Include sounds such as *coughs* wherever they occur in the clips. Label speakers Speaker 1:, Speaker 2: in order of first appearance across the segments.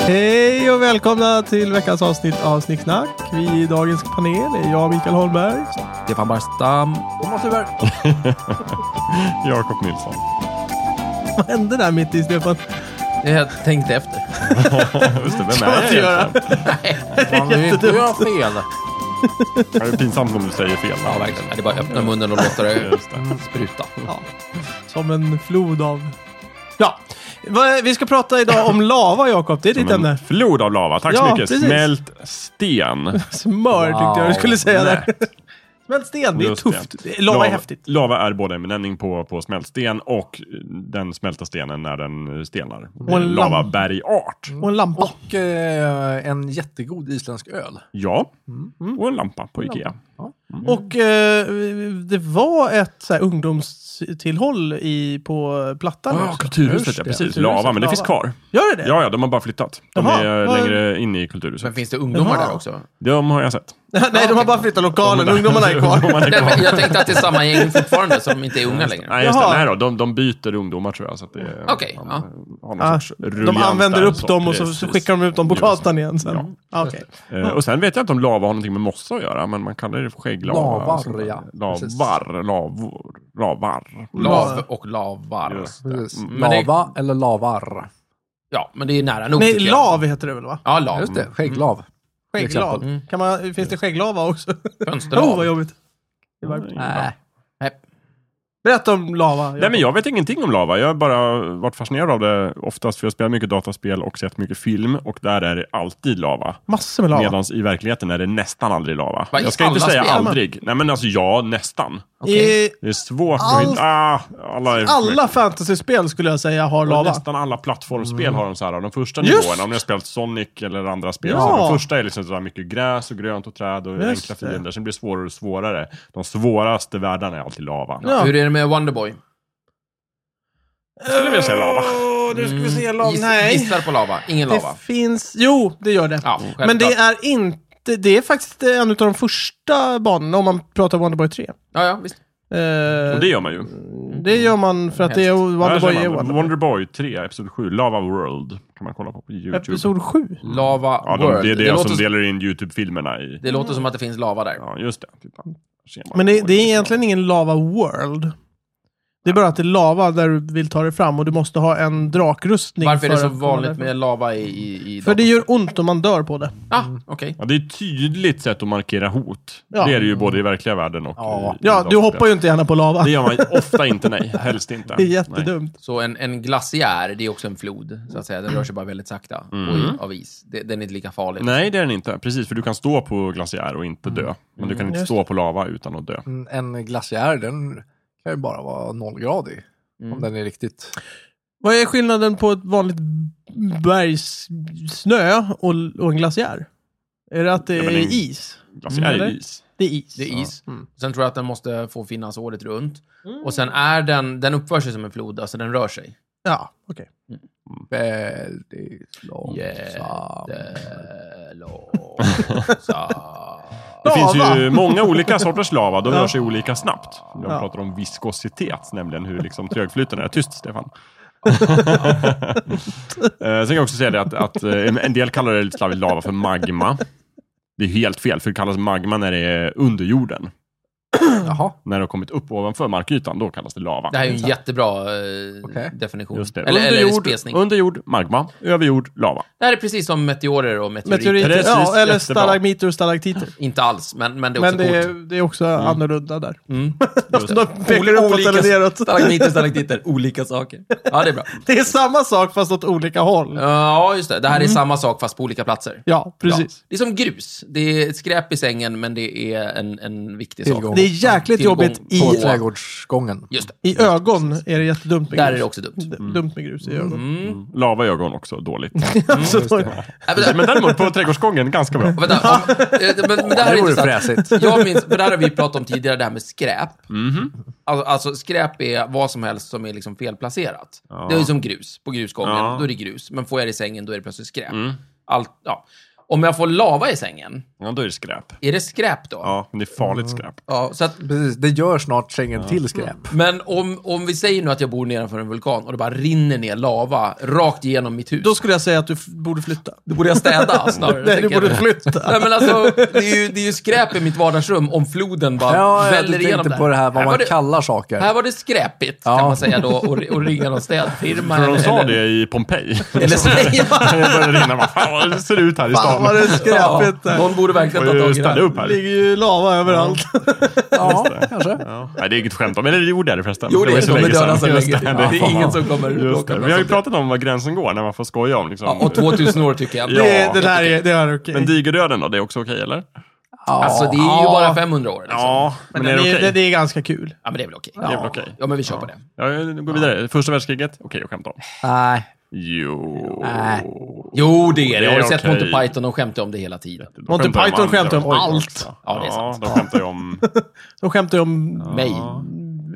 Speaker 1: Hej och välkomna till veckans avsnitt av Snicksnack. Vi i dagens panel är jag, Mikael Holmberg.
Speaker 2: Stefan Barstam.
Speaker 1: Thomas Huber.
Speaker 3: Jakob Nilsson.
Speaker 1: *laughs* Vad hände där mitt i, Stefan?
Speaker 2: Jag tänkte efter.
Speaker 1: *laughs*
Speaker 3: Just det, vem
Speaker 1: Kan man
Speaker 3: är jag
Speaker 1: inte göra.
Speaker 3: egentligen?
Speaker 2: Man vill inte göra fel.
Speaker 3: Ja, Det är pinsamt om du säger fel.
Speaker 2: Ja, verkligen. Det är bara att öppna munnen och låta det
Speaker 3: Just det.
Speaker 2: spruta.
Speaker 1: Ja, som en flod av... Ja, Va- vi ska prata idag
Speaker 3: *laughs*
Speaker 1: om lava, Jakob. Det är ditt
Speaker 3: Som
Speaker 1: ämne.
Speaker 3: en flod av lava. Tack så
Speaker 1: Ja,
Speaker 3: mycket.
Speaker 1: precis.
Speaker 3: Smält sten.
Speaker 1: Smör tyckte jag du skulle säga där.
Speaker 2: Wow.
Speaker 1: Smält sten, det är
Speaker 3: Just
Speaker 1: tufft. Lava är häftigt.
Speaker 3: Lava är både en benämning på, på smältsten och den smälta stenen när den stelnar. Det är
Speaker 1: en Mm.
Speaker 3: en
Speaker 1: lamp.
Speaker 3: Lavabergart.
Speaker 1: Och en lampa.
Speaker 4: Och eh, en jättegod isländsk öl.
Speaker 3: Ja,
Speaker 1: Mm.
Speaker 3: och en lampa på Ikea. Mm.
Speaker 1: Och eh, det var ett så här, ungdomstillhåll i, på Plattan.
Speaker 3: Ja,
Speaker 1: också.
Speaker 3: kulturhuset, ja,
Speaker 4: det.
Speaker 3: precis.
Speaker 1: Kulturhuset,
Speaker 3: Lava, men det
Speaker 1: lava.
Speaker 3: finns kvar.
Speaker 1: Gör det det?
Speaker 3: Ja, ja, de har bara flyttat. De
Speaker 1: Jaha,
Speaker 3: är
Speaker 1: vad-
Speaker 3: längre inne i
Speaker 2: Men
Speaker 3: Kulturhuset.
Speaker 2: finns det ungdomar
Speaker 1: Jaha.
Speaker 2: där också?
Speaker 3: De har jag sett.
Speaker 1: *laughs* Nej, de har bara flyttat lokalen. Ungdomarna är
Speaker 3: *laughs*
Speaker 1: kvar.
Speaker 3: Man
Speaker 1: *laughs*
Speaker 3: är
Speaker 2: Nej,
Speaker 3: kvar.
Speaker 2: men jag tänkte att det är samma gäng fortfarande som inte är unga längre.
Speaker 3: Nej, just det.
Speaker 1: Jaha.
Speaker 3: Nej då, de, de byter ungdomar tror jag. Så att det, är-
Speaker 2: Okej,
Speaker 3: de,
Speaker 2: ja.
Speaker 3: har någon
Speaker 1: Ah,
Speaker 3: sorts
Speaker 1: De
Speaker 3: ruljans
Speaker 1: använder
Speaker 3: där,
Speaker 1: upp dem och så, så
Speaker 3: precis.
Speaker 1: skickar de ut dem på
Speaker 3: Just
Speaker 1: gatan igen sen.
Speaker 3: Ja.
Speaker 1: Ja. okej.
Speaker 3: Eh, och sen vet jag inte om lava har någonting med mossa att göra, men man kallar det för skägglava.
Speaker 4: Lavar,
Speaker 3: och sånt där.
Speaker 4: ja. Precis.
Speaker 3: Lavar, lavor, lavar.
Speaker 2: Lav och lavar.
Speaker 3: Just det.
Speaker 4: Precis.
Speaker 2: Men det-
Speaker 4: Mm, Lava eller lavar.
Speaker 2: Ja, men det är nära nog.
Speaker 1: Nej,
Speaker 2: tycker jag.
Speaker 1: lav heter det väl va?
Speaker 2: Ja, lav.
Speaker 4: Just det, skägglav. Till
Speaker 1: Skägglav.
Speaker 4: exempel.
Speaker 2: Mm.
Speaker 1: Kan man, finns det skägglava också? *laughs*
Speaker 2: Fönsterlav.
Speaker 1: Åh, Oh, vad jobbigt. Det var-
Speaker 3: Mm.
Speaker 4: Mm.
Speaker 2: Nej. Nej.
Speaker 1: Berätta om lava.
Speaker 3: Nej, men jag vet ingenting om lava. Jag har bara varit fascinerad av det oftast, för jag spelar mycket dataspel och sett mycket film, och där är det alltid lava.
Speaker 1: Massor med lava.
Speaker 3: Medans i verkligen är det nästan aldrig lava.
Speaker 2: Va, i
Speaker 3: jag ska inte
Speaker 2: alla
Speaker 3: säga
Speaker 2: spel?
Speaker 3: aldrig. Nej, men alltså ja, nästan.
Speaker 2: Okej.
Speaker 1: I
Speaker 3: Det är svårt
Speaker 1: Allt-
Speaker 3: att hitta... Ah, alla, är
Speaker 1: alla fantasyspel skulle jag säga har
Speaker 3: Och
Speaker 1: lava. Mm.
Speaker 3: Nästan alla plattformsspel har de så här, de första
Speaker 1: Just!
Speaker 3: nivåerna, om ni har spelat Sonic eller andra spel,
Speaker 1: Ja.
Speaker 3: så de första är liksom så här mycket gräs och grönt och träd och
Speaker 1: Just
Speaker 3: enkla
Speaker 1: det.
Speaker 3: fiender, sen blir det svårare och svårare. De svåraste världarna är alltid lava.
Speaker 1: Ja.
Speaker 2: Hur är det med Wonderboy?
Speaker 3: Jag skulle vilja säga lava.
Speaker 1: Åh, nu ska vi se lava.
Speaker 2: Giss-
Speaker 1: Nej,
Speaker 2: Gissar på lava. Ingen Mm. lava.
Speaker 1: det finns... Jo, det gör det.
Speaker 2: Ja, självklart.
Speaker 1: men det är inte... Det är faktiskt en av de första banorna om man pratar Wonderboy 3.
Speaker 2: Ja, ja, visst.
Speaker 1: Eh,
Speaker 3: Och det gör man ju.
Speaker 1: det gör man för att det är Wonderboy är Wonderboy.
Speaker 3: Wonderboy 3, Episod 7, Lava World, kan man kolla på på YouTube.
Speaker 1: Episod 7.
Speaker 2: Lava
Speaker 3: ja, de,
Speaker 2: World.
Speaker 3: det är det, som
Speaker 2: låter,
Speaker 3: delar in YouTube-filmerna i.
Speaker 2: det låter som att det finns lava där.
Speaker 3: Ja, just det. Titta. Där ser man.
Speaker 1: Men det,
Speaker 3: Oj,
Speaker 1: det är egentligen ingen lava world. Det är bara att det är lava där du vill ta dig fram och du måste ha en drakrustning.
Speaker 2: Varför är det
Speaker 1: för
Speaker 2: så
Speaker 1: att komma
Speaker 2: vanligt
Speaker 1: därifrån.
Speaker 2: med lava i... i, i
Speaker 1: För det
Speaker 2: datorn?
Speaker 1: gör ont om man dör på det.
Speaker 2: Ah, okej.
Speaker 3: Ja, det är ett tydligt sätt att markera hot.
Speaker 1: Ja.
Speaker 3: Det är det ju både i verkliga världen och
Speaker 4: Ja.
Speaker 3: i, i
Speaker 1: Ja, du
Speaker 3: dataspel.
Speaker 1: hoppar ju inte gärna på lava.
Speaker 3: Det gör man ofta inte, nej. Helst inte.
Speaker 1: *laughs* Det är jättedumt.
Speaker 2: Så en, en glaciär, det är också en flod, så att säga. Den rör sig bara väldigt sakta och i, av is. Det, den är inte lika farlig.
Speaker 3: Mm. Nej. nej, det är den inte. Precis, för du kan stå på glaciär och inte dö. Men du kan inte
Speaker 1: Just
Speaker 3: stå på lava utan att dö.
Speaker 4: En- Mm, En glaciär, den kan ju bara vara nollgradig. Om den är riktigt...
Speaker 1: Vad är skillnaden på ett vanligt bergssnö och, och en glaciär? Är det att det
Speaker 3: Ja, men
Speaker 1: är
Speaker 3: en-
Speaker 1: is?
Speaker 3: Glaciär
Speaker 1: Mm,
Speaker 3: är
Speaker 1: eller?
Speaker 3: is.
Speaker 1: Det är is.
Speaker 2: Det är is. Sen tror jag att den måste få finnas året runt.
Speaker 1: Mm.
Speaker 2: Och sen är den, den uppför sig som en flod, alltså den rör sig.
Speaker 1: Ja, okej.
Speaker 4: Väldigt långsamt.
Speaker 2: Jättelångsamt.
Speaker 3: Det finns
Speaker 1: Lava!
Speaker 3: ju många olika sorters lava. De
Speaker 1: Ja.
Speaker 3: rör sig olika snabbt. Jag
Speaker 1: Ja.
Speaker 3: pratar om viskositet, nämligen hur liksom trögflytande är. Tyst, Stefan. Eh, Sen kan jag också säga det att, att eh, en del kallar det lite slarvigt lava för magma. Det är helt fel, för det kallas magma när det är under jorden.
Speaker 4: Jaha,
Speaker 3: När det har kommit upp ovanför markytan, då kallas det lava.
Speaker 2: *laughs* Det här är ju en jättebra eh,
Speaker 4: Okej.
Speaker 2: definition.
Speaker 3: Just det.
Speaker 2: Eller,
Speaker 3: under,
Speaker 2: eller
Speaker 3: jord,
Speaker 2: spesning.
Speaker 3: under jord, magma. Över jord, lava.
Speaker 2: Det här är precis som meteorer och meteoriter.
Speaker 1: Meteoriter.
Speaker 3: Precis,
Speaker 1: Ja, eller
Speaker 3: jättebra.
Speaker 1: stalagmiter och stalaktiter.
Speaker 2: Inte alls, men, men det är
Speaker 1: Men
Speaker 2: också
Speaker 1: det är,
Speaker 2: coolt.
Speaker 1: det är också annorlunda där.
Speaker 2: Mm.
Speaker 1: De pekar uppåt eller neråt.
Speaker 2: Stalagmiter, stalaktiter, olika saker. Ja, det är bra.
Speaker 1: Det är samma sak fast åt olika håll.
Speaker 2: Ja, just det. Det här är samma sak fast på olika platser.
Speaker 1: Ja, precis.
Speaker 2: Ja. Det är som grus. Det är ett skräp i sängen, men det är en, en viktig
Speaker 4: Tillgång.
Speaker 2: sak.
Speaker 1: Det är jäkligt
Speaker 2: Tillgång
Speaker 1: jobbigt i,
Speaker 4: på
Speaker 2: Ja.
Speaker 4: trädgårdsgången.
Speaker 2: Just det.
Speaker 1: i ögon. Är det jättedumt med
Speaker 2: Där är
Speaker 1: grus.
Speaker 2: det också dumt.
Speaker 1: D- Dumt med grus i ögon.
Speaker 2: Mm.
Speaker 3: Lava i ögon också, dåligt.
Speaker 1: *laughs* Så då-
Speaker 2: Äh,
Speaker 3: *laughs*
Speaker 2: men,
Speaker 3: Men däremot på trädgårdsgången, ganska bra.
Speaker 2: vänta, om, eh, men, men det här är
Speaker 4: Det vore
Speaker 2: intressant.
Speaker 4: fräsigt.
Speaker 2: Jag minns, för det här har vi pratat om tidigare, det här med skräp. Alltså, alltså skräp är vad som helst som är liksom felplacerat.
Speaker 3: Ja.
Speaker 2: Det är ju som grus, på grusgången,
Speaker 3: Ja.
Speaker 2: då är det grus. Men får jag det i sängen, då är det plötsligt skräp.
Speaker 3: Mm.
Speaker 2: Allt, ja. Om jag får lava i sängen,
Speaker 3: Ja, då är det skräp.
Speaker 2: Är det skräp då?
Speaker 3: Ja, men det är farligt skräp.
Speaker 2: Ja, så att,
Speaker 4: Precis, det gör snart Schengen till skräp.
Speaker 2: men om, om vi säger nu att jag bor nedanför en vulkan och det bara rinner ner lava rakt igenom mitt hus.
Speaker 1: Då skulle jag säga att du f- borde flytta.
Speaker 2: Då borde jag städa snarare.
Speaker 1: Nej, du
Speaker 2: tänker jag.
Speaker 1: borde flytta.
Speaker 2: Nej, men alltså, det är, ju, det är ju skräp i mitt vardagsrum om floden bara
Speaker 4: Ja, jag
Speaker 2: väller igenom
Speaker 4: tänkte på det här vad
Speaker 2: var
Speaker 4: man
Speaker 2: det,
Speaker 4: kallar saker.
Speaker 2: Här var det skräpigt,
Speaker 4: Ja.
Speaker 2: kan man säga då, och, och ringa någon städfirma.
Speaker 3: För de sa
Speaker 2: eller,
Speaker 3: det i Pompeji. *laughs*
Speaker 2: eller säga.
Speaker 3: Det började rinna. Vad fan vad det ser ut här i
Speaker 1: Fan
Speaker 3: stan.
Speaker 1: vad det är
Speaker 2: *laughs* Ja,
Speaker 1: skräpigt där.
Speaker 2: någon borde verkligen ta
Speaker 3: Får ju
Speaker 2: tag i det
Speaker 3: städa
Speaker 2: här.
Speaker 3: upp
Speaker 1: Det
Speaker 3: här.
Speaker 1: ligger ju lava överallt.
Speaker 4: ja, kanske.
Speaker 3: Ja. Nej, det är inget skämt om. Eller jo, det är det förresten.
Speaker 2: Jo, det
Speaker 3: var
Speaker 2: är
Speaker 3: ju
Speaker 2: de är döda sedan
Speaker 3: Just
Speaker 2: länge. Det
Speaker 3: Ja,
Speaker 2: är
Speaker 3: fan.
Speaker 2: ingen som kommer
Speaker 3: Just
Speaker 2: plocka
Speaker 3: det.
Speaker 2: något
Speaker 3: Vi har ju
Speaker 2: sånt där.
Speaker 3: pratat om vad gränsen går när man får skoja om. Liksom.
Speaker 2: Ja, och 2000 år tycker jag.
Speaker 3: Ja.
Speaker 1: Det, det där är, det är okej.
Speaker 3: Men digerdöden då, det är också okej eller?
Speaker 4: Ja.
Speaker 2: Alltså det är ju bara 500 år. Liksom. Ja.
Speaker 3: men,
Speaker 1: Men
Speaker 3: är det okej?
Speaker 1: det, det är ganska kul.
Speaker 2: men det är väl okej.
Speaker 3: Det är
Speaker 2: Ja.
Speaker 3: väl okej.
Speaker 2: ja, men vi kör på det.
Speaker 3: Ja, nu går vi vidare. Första världskriget? Okej, jag skämtar om.
Speaker 4: Nej.
Speaker 3: Jo.
Speaker 4: Nej.
Speaker 2: Jo, det är det. Jag har ju
Speaker 3: Det är
Speaker 2: sett
Speaker 3: okej.
Speaker 2: Monty Python, de skämtar om det hela tiden.
Speaker 3: De
Speaker 1: Monty
Speaker 3: skämtar ju
Speaker 1: Python
Speaker 3: andra
Speaker 1: skämtar om
Speaker 3: också.
Speaker 1: allt.
Speaker 2: Ja, det är sant.
Speaker 3: de skämtar
Speaker 2: *laughs*
Speaker 3: ju om...
Speaker 1: De skämtar ju om...
Speaker 2: Mig.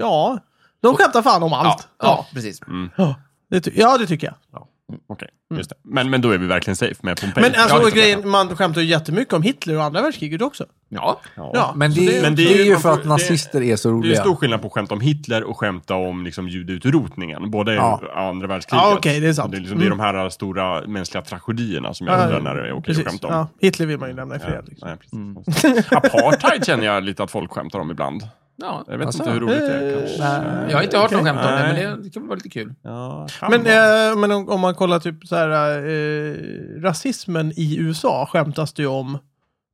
Speaker 1: Ja, de skämtar fan om
Speaker 2: Ja,
Speaker 1: allt.
Speaker 2: ja, precis.
Speaker 1: Ja, det, ty- ja, det tycker jag.
Speaker 3: Okej,
Speaker 2: Mm.
Speaker 3: just det. Men, men då är vi verkligen safe med Pompeji.
Speaker 1: Men alltså,
Speaker 2: Ja, det tycker
Speaker 1: grejen, man skämtar ju jättemycket om Hitler och andra världskriget också.
Speaker 2: Ja.
Speaker 1: Ja,
Speaker 4: Men
Speaker 1: så
Speaker 4: det, är-
Speaker 3: men
Speaker 4: det,
Speaker 3: det är ju-
Speaker 4: är ju
Speaker 3: man
Speaker 4: för
Speaker 3: får-
Speaker 4: att nazister är så
Speaker 3: Det är
Speaker 4: roliga.
Speaker 3: stor skillnad på att skämta om Hitler och skämta om liksom, judeutrotningen. Både
Speaker 4: Ja.
Speaker 3: andra världskriget.
Speaker 1: Ja, okej, det är sant. Mm.
Speaker 3: Det är, liksom, det är de här stora mänskliga tragedierna som jag
Speaker 1: Ja,
Speaker 3: undrar när det är okej att
Speaker 1: Precis.
Speaker 3: skämta om.
Speaker 1: Ja, Hitler vill man ju lämna i fred. Liksom.
Speaker 3: Nej, precis.
Speaker 2: Mm.
Speaker 3: *laughs* Apartheid känner jag lite att folk skämtar om ibland.
Speaker 2: ja.
Speaker 3: Jag vet
Speaker 4: Alltså,
Speaker 3: inte hur roligt det
Speaker 1: eh,
Speaker 3: är kanske.
Speaker 2: Jag har inte hört någon
Speaker 1: Okej.
Speaker 2: skämta om det,
Speaker 3: Nej.
Speaker 2: men det, det kan vara lite kul.
Speaker 3: Ja,
Speaker 1: Men,
Speaker 3: fan vad-
Speaker 1: eh, men om, om man kollar typ så här, eh, rasismen i USA skämtas det ju om.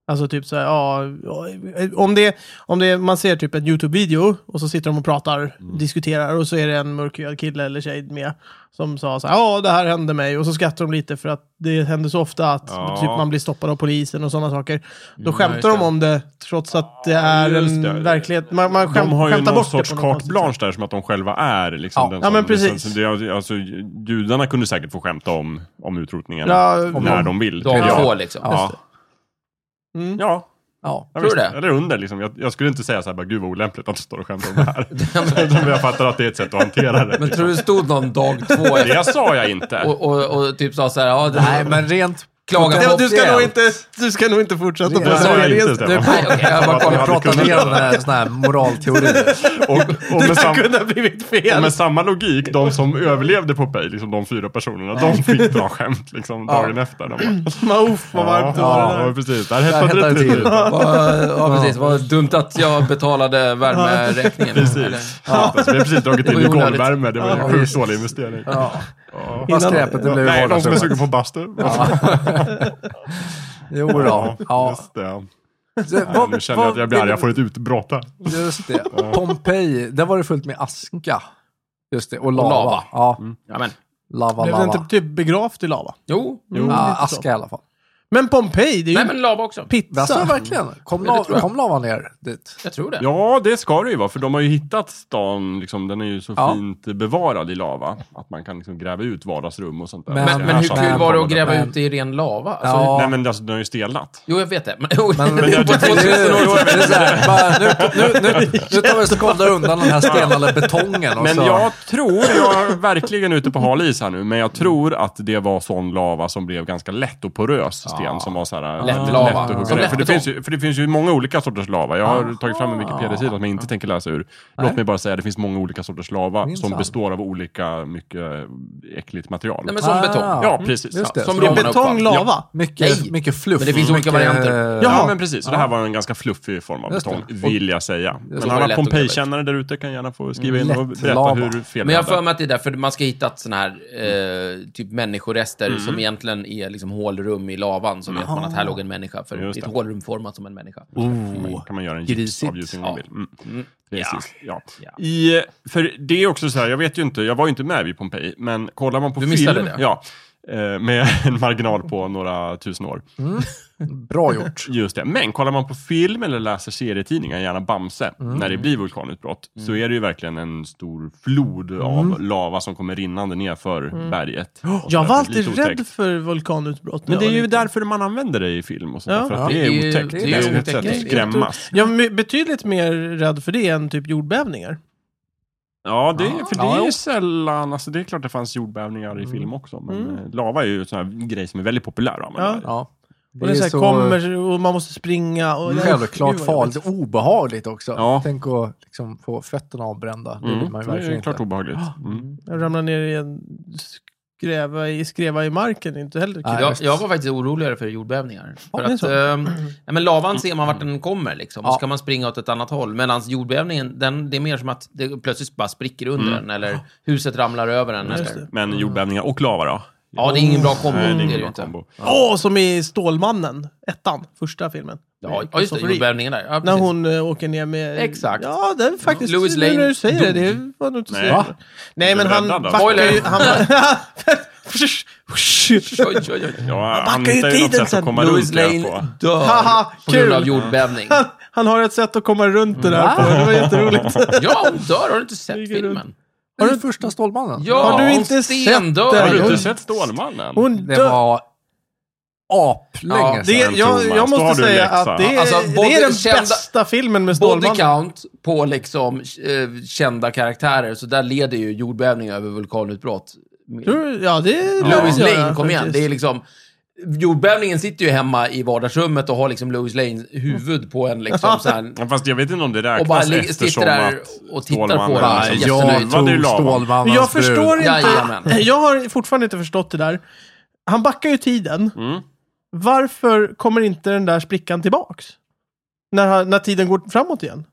Speaker 1: Alltså typ så här, ja, eh, om det, om det, man ser typ en YouTube-video och så sitter de och pratar,
Speaker 3: Mm.
Speaker 1: diskuterar och så är det en mörkhyad kille eller tjej med som sa så här, ja det här hände mig och så skrattar de lite för att det händer så ofta att
Speaker 3: Ja. Mm,
Speaker 1: typ man blir stoppad av polisen och sådana saker. Då
Speaker 2: just
Speaker 1: skämtar de
Speaker 2: det.
Speaker 1: om det trots att det är
Speaker 3: just
Speaker 1: en
Speaker 3: det.
Speaker 1: verklighet. Man, man skäm,
Speaker 3: de har ju
Speaker 1: skämtar
Speaker 3: någon
Speaker 1: bort det på
Speaker 3: sorts
Speaker 1: något
Speaker 3: carte
Speaker 1: konstigt sätt.
Speaker 3: blanche där som att de själva är. Liksom,
Speaker 4: Ja.
Speaker 3: den
Speaker 1: Ja,
Speaker 3: som-
Speaker 1: men precis.
Speaker 3: så det, alltså, judarna kunde säkert få skämta om, om utrotningen
Speaker 1: Ja,
Speaker 3: när de vill.
Speaker 2: De
Speaker 3: tänker jag.
Speaker 2: två liksom.
Speaker 4: Ja.
Speaker 3: Ja.
Speaker 1: Mm.
Speaker 3: Ja,
Speaker 4: Ja.
Speaker 3: jag
Speaker 2: Tror du
Speaker 3: visste.
Speaker 2: det?
Speaker 3: Eller under liksom. Jag, jag skulle inte säga så här, bara, gud vad olämpligt att du står och skämtar om det
Speaker 2: *laughs*
Speaker 3: här. *laughs* Men jag fattar att det är ett sätt att hantera det.
Speaker 2: Men tror du det stod någon dag
Speaker 3: *laughs*
Speaker 2: två efter
Speaker 3: Det sa jag inte.
Speaker 2: och, och, och typ sa så här, ja, det
Speaker 4: Nej, men rent...
Speaker 2: klaga
Speaker 1: Ja,
Speaker 2: på...
Speaker 1: du, ska
Speaker 4: Hopp
Speaker 1: nog
Speaker 4: igen.
Speaker 1: inte, du ska nog inte fortsätta
Speaker 4: Det
Speaker 1: på
Speaker 3: Det
Speaker 4: Nej,
Speaker 3: sa jag
Speaker 1: det.
Speaker 3: inte,
Speaker 4: det-
Speaker 3: Stefan.
Speaker 2: Nej, okej, jag bara
Speaker 4: Vi
Speaker 2: kollar.
Speaker 4: pratar
Speaker 3: kunnat
Speaker 4: mer om eh, såna här moralteorier.
Speaker 3: Och, och med sam-
Speaker 1: kunde ha blivit
Speaker 3: och
Speaker 1: fel.
Speaker 3: med samma logik, de som överlevde Pompeji, liksom de fyra personerna, de
Speaker 2: *laughs*
Speaker 3: fick dra skämt liksom dagen efter. De bara,
Speaker 1: Men, Uff, vad varmt det var. det
Speaker 3: ja,
Speaker 1: där.
Speaker 3: ja, precis. Där
Speaker 4: Där
Speaker 3: hettade det till.
Speaker 2: Vad- Ja, precis. Vad dumt att jag betalade värmeräkningen. Eller-
Speaker 3: Precis. Ja. Alltså, vi har precis dragit in
Speaker 2: Det
Speaker 3: i
Speaker 2: var onödigt.
Speaker 3: golvvärme. Det var
Speaker 4: Ja,
Speaker 3: en sjukt
Speaker 4: visst.
Speaker 3: dålig investering.
Speaker 4: Ja.
Speaker 3: Ja.
Speaker 4: Vad skräpet det blev i
Speaker 3: Nej, de som är
Speaker 4: vardagsrummet.
Speaker 3: sugen på bastu.
Speaker 4: Jo då. Ja.
Speaker 3: Just det.
Speaker 4: Så,
Speaker 3: Ja,
Speaker 4: vad-
Speaker 3: nu känner jag att
Speaker 4: vad
Speaker 3: jag blir arg.
Speaker 4: vill-
Speaker 3: Jag får ett utbrott här.
Speaker 4: Just det. Pompeji, där var det fullt med aska. Just det, och lava.
Speaker 2: lava.
Speaker 4: Ja,
Speaker 3: Mm.
Speaker 2: Ja, men.
Speaker 4: lava,
Speaker 1: Blev
Speaker 4: lava.
Speaker 1: den inte typ begravt i lava?
Speaker 2: Jo.
Speaker 4: ja,
Speaker 1: lite så.
Speaker 4: aska i alla fall.
Speaker 1: Men Pompeji, det är ju
Speaker 2: Nej, men lava också.
Speaker 1: pizza.
Speaker 4: Alltså, verkligen. Kom, la,
Speaker 2: tror jag.
Speaker 4: kom lavan ner dit?
Speaker 2: Jag tror det.
Speaker 3: Ja, det ska det ju vara. För de har ju hittat stan. Liksom, den är ju så
Speaker 4: Ja.
Speaker 3: fint bevarad i lava. Att man kan liksom, gräva ut vardagsrum och sånt där.
Speaker 4: Men-
Speaker 3: Det här
Speaker 2: Men, men hur
Speaker 3: saker
Speaker 2: kul var det att
Speaker 3: kommer
Speaker 2: gräva
Speaker 3: där.
Speaker 4: Men-
Speaker 2: ut i ren lava? Alltså,
Speaker 4: Ja.
Speaker 3: Nej, men alltså, den har ju stelnat.
Speaker 2: Jo, jag vet det. Men, *laughs* jo,
Speaker 4: Men-
Speaker 2: det är på 2000
Speaker 4: Det är-
Speaker 2: år.
Speaker 4: det är så här, bara, nu, nu, nu, nu tar vi och skavlar undan den här stelnade betongen. Och
Speaker 3: Men
Speaker 4: så.
Speaker 3: jag tror, jag är verkligen ute på hal is här nu, men jag tror att det var sån lava som blev ganska lätt och porös sten som var så här
Speaker 2: Lätt
Speaker 3: lätt,
Speaker 2: lava.
Speaker 3: lätt att hugga
Speaker 2: Som
Speaker 3: ner. För det,
Speaker 2: lättbetong.
Speaker 3: finns ju, för det finns ju många olika sorters lava. Jag har tagit fram en Wikipedia-sida som jag inte tänker läsa ur. Låt mig bara säga, det finns många olika sorters lava som
Speaker 4: Minsann.
Speaker 3: består av olika, mycket eh, äckligt material.
Speaker 2: Nej, men som betong.
Speaker 4: Ah.
Speaker 3: Ja, precis.
Speaker 4: Just
Speaker 3: Ja.
Speaker 4: det.
Speaker 2: Som
Speaker 1: Mm, Det är
Speaker 2: Ja, men
Speaker 1: betong,
Speaker 2: uppfattar-
Speaker 1: lava.
Speaker 4: Mycket,
Speaker 2: Nej.
Speaker 4: mycket fluff.
Speaker 2: Men det finns olika
Speaker 4: mycket,
Speaker 2: varianter.
Speaker 4: Ja.
Speaker 3: Ja,
Speaker 1: Jaha.
Speaker 3: men precis. Det här var en ganska fluffig form av
Speaker 4: Just det.
Speaker 3: betong, vill jag säga. Men
Speaker 2: var det
Speaker 3: alla
Speaker 2: lätt att gräva ut.
Speaker 3: Pompeji-kännare där ute kan gärna få skriva in och
Speaker 4: Lätt
Speaker 3: berätta
Speaker 4: lava.
Speaker 3: hur fel
Speaker 2: Men jag har
Speaker 3: hade.
Speaker 2: för mig att det är därför man ska hitta ett sån här
Speaker 1: Mm.
Speaker 2: eh, typ människorester
Speaker 3: Mm.
Speaker 2: som egentligen är liksom hålrum i lavan. Så vet man att här låg en människa. För det är
Speaker 3: Just
Speaker 2: ett
Speaker 3: det.
Speaker 2: hålrum format som en människa.
Speaker 1: Mm.
Speaker 3: oh, kan man göra en
Speaker 4: grisigt.
Speaker 3: gipsavgjutning om
Speaker 2: Ja.
Speaker 3: man vill. Mm. Precis. Ja.
Speaker 2: Ja.
Speaker 3: I, för det är också så här, jag vet ju inte, jag var ju inte med vid Pompeji, men kollar man på
Speaker 2: Du
Speaker 3: film,
Speaker 2: missade det.
Speaker 3: Ja, eh, med *laughs* en marginal på några tusen år.
Speaker 4: Bra gjort.
Speaker 3: Just det. Men kollar man på film eller läser serietidningar, gärna Bamse, när det blir vulkanutbrott, så är det ju verkligen en stor flod av lava som kommer rinnande ner för berget. Och så
Speaker 1: Jag
Speaker 3: där,
Speaker 1: var
Speaker 3: det är lite
Speaker 1: alltid rädd
Speaker 3: otäckt.
Speaker 1: för vulkanutbrott. när
Speaker 3: Men det är
Speaker 1: jag
Speaker 3: ju
Speaker 1: var liten.
Speaker 3: därför man använder det i film och sånt där,
Speaker 1: Ja.
Speaker 3: för att
Speaker 1: Ja.
Speaker 3: det är
Speaker 2: Det är ju-
Speaker 3: otäckt.
Speaker 2: det
Speaker 3: Det
Speaker 2: är
Speaker 3: är, ju ett
Speaker 2: otäckt.
Speaker 3: sätt
Speaker 2: Det är
Speaker 3: att
Speaker 2: otäckt.
Speaker 3: skrämmas.
Speaker 1: Jag är my- betydligt mer rädd för det än typ jordbävningar.
Speaker 3: Ja, det, för det
Speaker 4: Ja,
Speaker 3: är ju
Speaker 4: jo.
Speaker 3: sällan, alltså det är klart det fanns jordbävningar i film också, men
Speaker 1: Mm.
Speaker 3: eh, lava är ju en sån här grej som är väldigt populär. att använda.
Speaker 1: Ja.
Speaker 3: här.
Speaker 4: Ja.
Speaker 1: Och det är så här, kommer och man måste springa. Och,
Speaker 4: Mm.
Speaker 1: Usch,
Speaker 4: Självklart
Speaker 1: gud vad
Speaker 4: farligt
Speaker 1: jobbigt.
Speaker 4: och obehagligt också.
Speaker 3: Ja.
Speaker 4: Tänk att liksom få fötterna avbrända. Det vill
Speaker 3: Mm.
Speaker 4: man ju
Speaker 3: Det är
Speaker 4: verkligen
Speaker 3: klart
Speaker 4: inte.
Speaker 3: obehagligt. Mm.
Speaker 1: Jag ramlar ner i en skräva i, skräva i marken, det är inte heller kul.
Speaker 4: Nej,
Speaker 2: Jag,
Speaker 4: just-
Speaker 2: jag var faktiskt oroligare för jordbävningar. För
Speaker 1: det är
Speaker 2: att,
Speaker 1: så. Mm.
Speaker 2: ehm, nej, men lavan ser man vart den kommer, liksom. och så
Speaker 4: Ja.
Speaker 2: kan man springa åt ett annat håll. Medan jordbävningen, den, det är mer som att det plötsligt bara spricker under en, eller huset ramlar över en.
Speaker 1: Mm. Just
Speaker 2: Eller,
Speaker 1: det.
Speaker 3: Men jordbävningar och lava då?
Speaker 2: ja, det är ingen bra kombo.
Speaker 3: Nej, det är
Speaker 2: det
Speaker 3: ingen
Speaker 2: ju
Speaker 3: bra
Speaker 2: inte.
Speaker 3: kombo.
Speaker 1: Åh, som i Stålmannen, ettan, första filmen.
Speaker 2: Ja, ja, just det.
Speaker 1: Christopher Reeve.
Speaker 2: Jordbävningen där. Ja,
Speaker 1: När
Speaker 2: precis.
Speaker 1: hon eh, åker ner med...
Speaker 2: Exakt.
Speaker 1: Ja, det är faktiskt... Louis
Speaker 2: Louis
Speaker 1: Lane. Nu
Speaker 2: Lane
Speaker 1: när du säger det,
Speaker 2: dog.
Speaker 1: det var nog inte så
Speaker 3: Nej.
Speaker 1: jävla- Nej, men
Speaker 3: Blev
Speaker 1: han
Speaker 3: räddad då?
Speaker 1: backar ju...
Speaker 2: Spoiler.
Speaker 1: Han
Speaker 2: *laughs*
Speaker 1: bara...
Speaker 2: Oj, oj, oj.
Speaker 3: Ja,
Speaker 1: backar
Speaker 3: han
Speaker 1: ju
Speaker 3: hittar ju något
Speaker 1: tiden
Speaker 3: sätt
Speaker 1: sen.
Speaker 3: att komma runt
Speaker 2: Louis
Speaker 3: det på.
Speaker 2: Lane dör
Speaker 1: Haha,
Speaker 2: på grund
Speaker 1: kul.
Speaker 2: av jordbävning.
Speaker 1: han, *laughs* han har ett sätt att komma runt det där på. Det var
Speaker 2: *laughs*
Speaker 1: jätteroligt.
Speaker 2: Ja, hon dör. Har du inte sett
Speaker 1: Smyger
Speaker 2: filmen?
Speaker 4: Har du första Stålmannen?
Speaker 2: Ja,
Speaker 1: Har du
Speaker 2: hon
Speaker 1: inte sett
Speaker 2: stendör.
Speaker 1: den?
Speaker 3: Har du
Speaker 1: Hon-
Speaker 3: inte sett Stålmannen?
Speaker 1: Hon
Speaker 4: Det
Speaker 1: dör.
Speaker 4: var
Speaker 2: Ja,
Speaker 4: aplänge
Speaker 2: det-
Speaker 1: Det,
Speaker 4: sedan.
Speaker 3: Sen,
Speaker 1: jag,
Speaker 3: Thomas,
Speaker 1: jag
Speaker 3: då har
Speaker 1: måste
Speaker 3: du en
Speaker 1: säga
Speaker 3: läxa.
Speaker 1: att det är,
Speaker 2: Alltså,
Speaker 1: det
Speaker 2: både
Speaker 1: är den
Speaker 2: kända-
Speaker 1: bästa filmen med
Speaker 2: Body
Speaker 1: Stålmannen.
Speaker 2: count på liksom eh, kända karaktärer, så där leder ju jordbävningar över vulkanutbrott.
Speaker 1: Tror du- Ja, det är
Speaker 2: Louis
Speaker 1: Ja,
Speaker 2: Lane, kom igen.
Speaker 1: faktiskt.
Speaker 2: Det är liksom... Jordbävningen sitter ju hemma i vardagsrummet och har liksom Louis Lanes huvud på en liksom så här,
Speaker 3: Ja, Fast jag vet inte om det
Speaker 2: Och bara
Speaker 3: räknas
Speaker 2: ligger-
Speaker 3: eftersom
Speaker 2: sitter där
Speaker 3: att
Speaker 2: och tittar på
Speaker 3: Stålmannen
Speaker 2: den.
Speaker 3: liksom-
Speaker 2: Nej,
Speaker 4: jag
Speaker 2: jättenöjd.
Speaker 3: Det är
Speaker 4: tog
Speaker 3: lava.
Speaker 4: Alltså, Stålmannens
Speaker 1: Men jag förstår
Speaker 4: brud.
Speaker 1: inte.
Speaker 2: Jajamän.
Speaker 1: *laughs* Jag har fortfarande inte förstått det där. Han backar ju tiden.
Speaker 3: Mm.
Speaker 1: Varför kommer inte den där sprickan tillbaks? När, han- när tiden går framåt igen.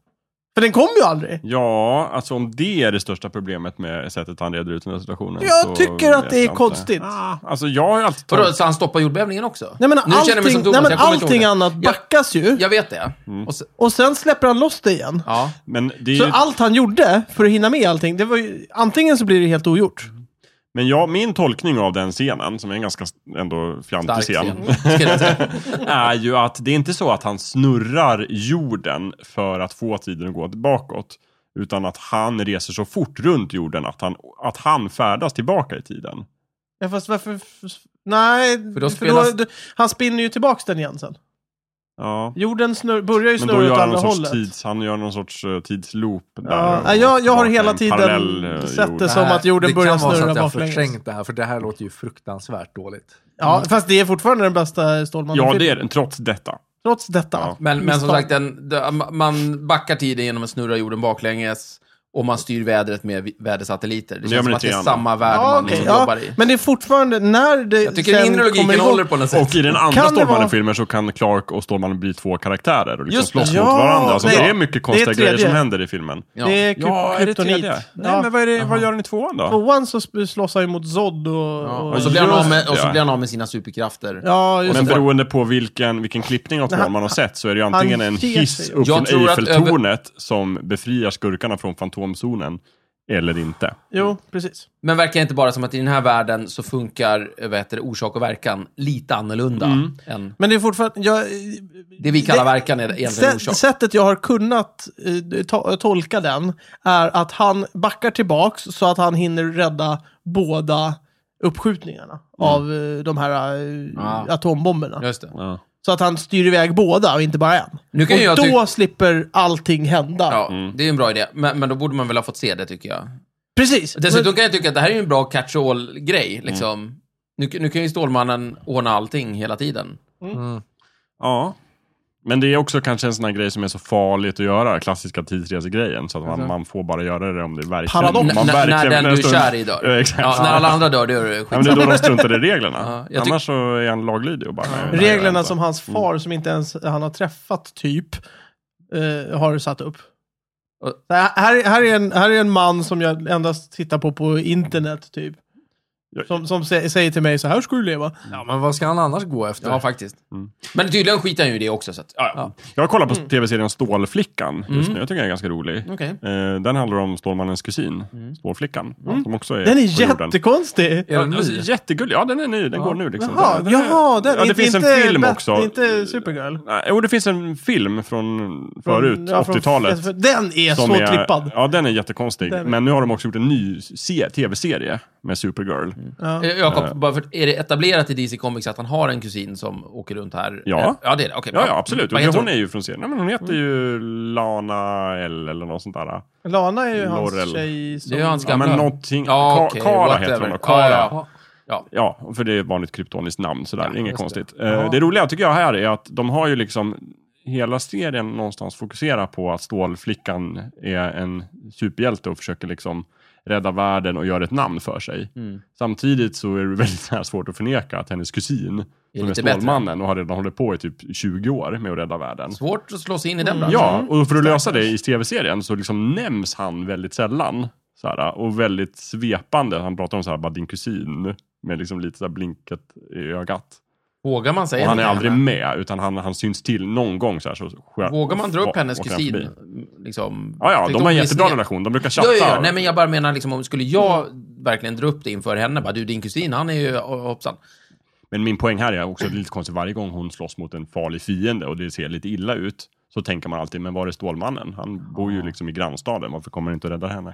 Speaker 1: För den kommer ju aldrig.
Speaker 3: Ja, alltså om det är det största problemet med sättet han reder ut den här situationen. så
Speaker 1: Jag tycker att
Speaker 3: vet
Speaker 1: det
Speaker 3: jag
Speaker 1: är
Speaker 3: inte.
Speaker 1: konstigt.
Speaker 3: Alltså jag har ju alltid
Speaker 2: Vadå, så han stoppar jordbävningen också?
Speaker 1: Nej men
Speaker 2: Nu känner jag mig
Speaker 1: allting,
Speaker 2: som Thomas,
Speaker 1: nej, men
Speaker 2: jag kommer inte
Speaker 1: allting
Speaker 2: ihåg det.
Speaker 1: annat
Speaker 2: Jag-
Speaker 1: backas ju.
Speaker 2: Jag vet det. Och så,
Speaker 1: Och sen släpper han loss det igen.
Speaker 2: ja.
Speaker 3: Men, det är
Speaker 1: Så
Speaker 3: ju...
Speaker 1: allt han gjorde för att hinna med allting, det var ju, antingen så blir det helt ogjort.
Speaker 3: Men jag, min tolkning av den scenen, som är en ganska ändå
Speaker 2: Stark
Speaker 3: fjantig scen,
Speaker 2: scen. Skulle jag säga.
Speaker 3: *laughs* är ju att det är inte så att han snurrar jorden för att få tiden att gå bakåt. Utan att han reser så fort runt jorden att han, att han färdas tillbaka i tiden.
Speaker 1: Ja, fast varför... f- Nej, för
Speaker 2: då spelas-
Speaker 1: då- han spinner ju tillbaks den igen sen.
Speaker 3: Ja.
Speaker 1: Jorden snurr, börjar ju
Speaker 3: Men då
Speaker 1: snurra
Speaker 3: gör
Speaker 1: åt
Speaker 3: han,
Speaker 1: andra
Speaker 3: någon
Speaker 1: hållet.
Speaker 3: sorts tids, han gör någon sorts eh, tidsloop. Där
Speaker 1: Ja,
Speaker 3: och
Speaker 1: nej, jag, jag har
Speaker 3: tillbaka,
Speaker 1: hela
Speaker 3: en parallell,
Speaker 1: tiden
Speaker 3: eh,
Speaker 1: sett
Speaker 3: jord.
Speaker 1: det som att jorden
Speaker 4: det
Speaker 1: börjar
Speaker 4: kan vara så
Speaker 1: snurra
Speaker 4: att jag har
Speaker 1: baklänges.
Speaker 4: förträngt det här, för det här låter ju fruktansvärt dåligt.
Speaker 1: Ja, fast det är fortfarande den bästa Stålmannen
Speaker 3: Ja, det är den, trots detta.
Speaker 1: Trots detta.
Speaker 3: Ja.
Speaker 2: Men, men som
Speaker 1: Misstag.
Speaker 2: sagt, den, den, man backar tiden genom att snurra jorden baklänges och man styr vädret med vi- vädersatelliter. Det
Speaker 3: Ja,
Speaker 2: känns
Speaker 3: men
Speaker 2: som att det
Speaker 3: lite
Speaker 2: är
Speaker 3: grann.
Speaker 2: samma värld
Speaker 1: Ja,
Speaker 2: man
Speaker 1: okej,
Speaker 2: liksom jobbar
Speaker 1: ja,
Speaker 2: i.
Speaker 1: men det är fortfarande när det
Speaker 2: Jag tycker den inre logiken håller på något sätt.
Speaker 3: Och i den andra
Speaker 1: Kan det vara-
Speaker 3: Stålmannen-filmen så kan Clark och Stålmannen bli två karaktärer och liksom
Speaker 2: Just det.
Speaker 3: slåss
Speaker 1: Ja,
Speaker 3: mot varandra. Så
Speaker 1: nej.
Speaker 3: det är mycket konstiga
Speaker 1: Det är
Speaker 3: grejer som
Speaker 1: tredje.
Speaker 3: händer i filmen.
Speaker 2: ja.
Speaker 1: Det är kryp- kryptonit. Oh,
Speaker 3: Nej, men vad, är det, vad gör den i tvåan då?
Speaker 1: Tvåan så sp- slåss han ju mot Zod och... Ja,
Speaker 2: Och så blir han av med, och så
Speaker 3: Ja.
Speaker 2: blir han av med sina superkrafter.
Speaker 1: Ja, just
Speaker 3: Men
Speaker 1: det.
Speaker 3: beroende på vilken, vilken klippning av Stålman man har sett så är det ju antingen en
Speaker 1: ger sig
Speaker 3: hiss
Speaker 1: ju.
Speaker 3: upp
Speaker 2: Jag
Speaker 3: från
Speaker 2: tror att
Speaker 3: Eiffeltornet som befriar skurkarna från Fantomzonen, eller inte.
Speaker 1: Jo, precis.
Speaker 2: Men verkar inte bara som att i den här världen så funkar eh, vad heter det, orsak och verkan lite annorlunda
Speaker 3: Mm.
Speaker 2: än
Speaker 1: Men det är fortfarande... Jag,
Speaker 2: det vi kallar
Speaker 1: Det-
Speaker 2: verkan är egentligen
Speaker 1: Sä-
Speaker 2: orsak.
Speaker 1: sättet jag har kunnat eh, to- tolka den är att han backar tillbaks så att han hinner rädda båda uppskjutningarna av eh, de här eh,
Speaker 2: Mm. Ah.
Speaker 1: atombomberna.
Speaker 2: Just det.
Speaker 1: Så att han styr iväg båda och inte bara en.
Speaker 2: Nu kan
Speaker 1: och
Speaker 2: ju jag
Speaker 1: då slipper allting hända.
Speaker 2: Ja, Det är ju en bra idé, men, men då borde man väl ha fått se det tycker jag.
Speaker 1: Precis.
Speaker 2: Dessutom kan jag tycka att det här är ju en bra
Speaker 3: Mm.
Speaker 2: catch-all-grej. Liksom. Nu, nu kan ju Stålmannen ordna allting hela tiden.
Speaker 3: Ja. Men det är också kanske en sån här grej som är så farligt att göra, klassiska tidsresegrejen. Så att man, man får bara göra det om det verkligen...
Speaker 1: Paradox.
Speaker 2: N-
Speaker 3: Man verkligen
Speaker 2: när den
Speaker 3: vill
Speaker 2: du är
Speaker 3: stund-
Speaker 2: kär i dör.
Speaker 3: Ja, *laughs* exakt.
Speaker 2: Ja, när alla andra dör, då är det
Speaker 3: Ja, men det är
Speaker 2: skit.
Speaker 3: då de struntar i reglerna.
Speaker 2: *laughs* Ja, jag tyck-
Speaker 3: Annars så är han laglydig och bara... nej, det här gör jag
Speaker 1: Reglerna
Speaker 3: inte.
Speaker 1: som hans far,
Speaker 2: Mm.
Speaker 1: som inte ens han har träffat typ, eh, har satt upp.
Speaker 2: Och-
Speaker 1: Så Här, här, här, är en, här är en man som jag endast tittar på på internet typ.
Speaker 3: Jag-
Speaker 1: Som, som sä, säger till mig så här ska du leva.
Speaker 4: Ja, men vad ska han annars gå efter?
Speaker 2: Ja, faktiskt.
Speaker 3: Mm.
Speaker 2: Men tydligen skiter han ju i det också. Så att, ja, ja. Mm.
Speaker 3: Jag kollar på tv-serien Stålflickan just nu. Jag tycker den är ganska rolig.
Speaker 2: Okej. Mm.
Speaker 3: Eh, den handlar om Stålmannens kusin, Stålflickan. Som också är
Speaker 1: Den är
Speaker 3: på jorden.
Speaker 1: jättekonstig.
Speaker 4: Är den
Speaker 3: Ja, alltså,
Speaker 4: ny?
Speaker 3: jättegullig. Ja, den är ny. Den går nu. Liksom.
Speaker 1: Jaha,
Speaker 3: den, den är-
Speaker 1: jaha den,
Speaker 3: ja, det
Speaker 1: inte,
Speaker 3: finns en
Speaker 1: inte
Speaker 3: film
Speaker 1: Bat-
Speaker 3: också.
Speaker 1: Inte Supergirl.
Speaker 3: Nej, Jo, det finns en film från förut,
Speaker 1: Ja, från-
Speaker 3: 80-talet.
Speaker 1: Den är
Speaker 3: som
Speaker 1: så
Speaker 3: är-
Speaker 1: trippad.
Speaker 3: Ja, den är jättekonstig.
Speaker 1: Den-
Speaker 3: Men nu har de också gjort en ny se- tv-serie med Supergirl.
Speaker 1: Ja.
Speaker 2: Eh, Jakob, bara för, är det etablerat i DC Comics att han har en kusin som åker runt här?
Speaker 3: Ja.
Speaker 2: Eh, Ja, det är det. Okej.
Speaker 3: Ja,
Speaker 2: bra.
Speaker 3: ja, absolut.
Speaker 2: Vad
Speaker 3: Och
Speaker 2: heter
Speaker 3: hon är ju från serien. Nej, men hon heter ju Lana L eller något sånt där.
Speaker 1: Lana är ju hans
Speaker 3: Laurel.
Speaker 1: tjej som...
Speaker 2: Det är ju hans
Speaker 3: Ja,
Speaker 2: gamla.
Speaker 3: men någonting...
Speaker 2: Ja,
Speaker 3: Ka-
Speaker 2: okej,
Speaker 3: Kara
Speaker 2: whatever.
Speaker 3: heter hon då.
Speaker 2: Ja,
Speaker 3: Kara.
Speaker 2: ja. Ja.
Speaker 3: Ja, för det är ett vanligt kryptoniskt namn. Sådär.
Speaker 2: Ja,
Speaker 3: Inget
Speaker 2: just
Speaker 3: konstigt. Eh,
Speaker 4: det. Ja.
Speaker 3: Det. det roliga tycker jag här är att de har ju liksom hela serien någonstans fokuserar på att Stålflickan är en superhjälte och försöker liksom rädda världen och göra ett namn för sig.
Speaker 2: Mm.
Speaker 3: Samtidigt så är det väldigt så här svårt att förneka att hennes kusin,
Speaker 2: Är
Speaker 3: som är
Speaker 2: lite bättre.
Speaker 3: Stålmannen och har redan hållit på i typ 20 år med att rädda världen.
Speaker 2: Svårt att slå sig in i den
Speaker 1: Mm.
Speaker 2: branschen.
Speaker 3: Ja, och för att lösa det i tv-serien så liksom nämns han väldigt sällan. Så här, och väldigt svepande. Han pratar om så här, bara din kusin. Med liksom lite så här blinket i ögat.
Speaker 2: Vågar man säga
Speaker 3: Och han är
Speaker 2: något
Speaker 3: aldrig
Speaker 2: annat?
Speaker 3: med, utan han, han syns till någon gång. Så här, så skär,
Speaker 2: Vågar man dra upp
Speaker 3: åker
Speaker 2: hennes
Speaker 3: han
Speaker 2: kusin?
Speaker 3: förbi.
Speaker 2: Liksom,
Speaker 3: Ja, ja,
Speaker 2: Tänk
Speaker 3: de
Speaker 2: om
Speaker 3: har en
Speaker 2: hon är
Speaker 3: jättebra
Speaker 2: sned.
Speaker 3: relation. De brukar
Speaker 2: Ja,
Speaker 3: chatta.
Speaker 2: ja, ja. Nej, men jag bara menar, liksom, om skulle jag verkligen dra upp det inför henne, bara, du, din kusin, han är ju hoppsan.
Speaker 3: Men min poäng här är också att det är lite konstigt. Varje gång hon slåss mot en farlig fiende och det ser lite illa ut. Så tänker man alltid, men var är Stålmannen? Han bor ju liksom i grannstaden. Varför kommer du inte att rädda henne?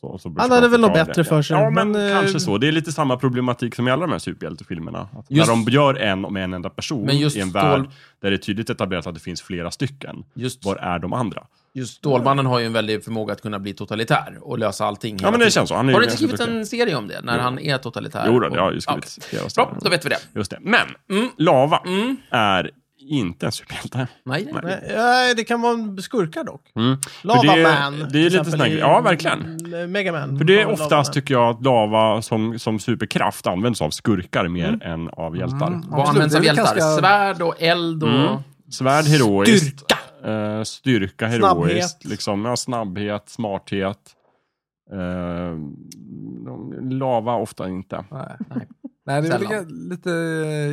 Speaker 3: Så, och så brukar
Speaker 1: Han hade
Speaker 3: de
Speaker 1: väl något
Speaker 3: förklara
Speaker 1: bättre
Speaker 3: det.
Speaker 1: för sig,
Speaker 3: Ja, men,
Speaker 1: men, eh,
Speaker 3: kanske så. Det är lite samma problematik som i alla de här superhjältefilmerna. Att
Speaker 2: Just-
Speaker 3: när de gör en om en enda person
Speaker 2: Men just
Speaker 3: i en
Speaker 2: Stål-
Speaker 3: värld där det är tydligt etablerat att det finns flera stycken.
Speaker 2: Just,
Speaker 3: Var är de andra?
Speaker 2: just Stålmannen har ju en väldig förmåga att kunna bli totalitär och lösa allting. hela
Speaker 3: Ja, men det
Speaker 2: tiden.
Speaker 3: känns så. Han är
Speaker 2: Har
Speaker 3: ju
Speaker 2: du inte skrivit
Speaker 3: ganska duktig.
Speaker 2: en serie om det, när
Speaker 3: Jo.
Speaker 2: han är totalitär?
Speaker 3: Jo, då,
Speaker 2: och-
Speaker 3: det har ju
Speaker 2: Ja, okej.
Speaker 3: skrivits flera
Speaker 2: Bra, då
Speaker 3: ställen.
Speaker 2: vet vi det.
Speaker 3: Just det. Men,
Speaker 2: Mm.
Speaker 3: Lava
Speaker 2: Mm.
Speaker 3: är inte en superhjälte.
Speaker 2: Nej, det är det.
Speaker 1: Nej, Nej, det kan vara en skurka dock.
Speaker 3: Mm.
Speaker 1: Lava
Speaker 3: För det är-
Speaker 1: Man.
Speaker 3: det är
Speaker 1: till
Speaker 3: lite
Speaker 1: exempel,
Speaker 3: sån här
Speaker 1: i-
Speaker 3: grej. Ja, verkligen.
Speaker 1: eh, Mega Man.
Speaker 3: För det är
Speaker 1: Lava
Speaker 3: oftast, typ-
Speaker 1: Man.
Speaker 3: tycker jag, att lava som, som superkraft används av skurkar mer än av hjältar.
Speaker 2: Vad används av
Speaker 4: Det är väl
Speaker 2: hjältar?
Speaker 4: ganska-
Speaker 2: Svärd och eld och...
Speaker 3: Mm. Svärd heroiskt.
Speaker 1: Styrka!
Speaker 3: Eh, styrka heroiskt.
Speaker 1: Snabbhet.
Speaker 3: Liksom, ja, snabbhet, smarthet. Eh, de- lava ofta inte.
Speaker 4: Nej. Nej, det är väl
Speaker 2: Sällan.
Speaker 4: ga- lite,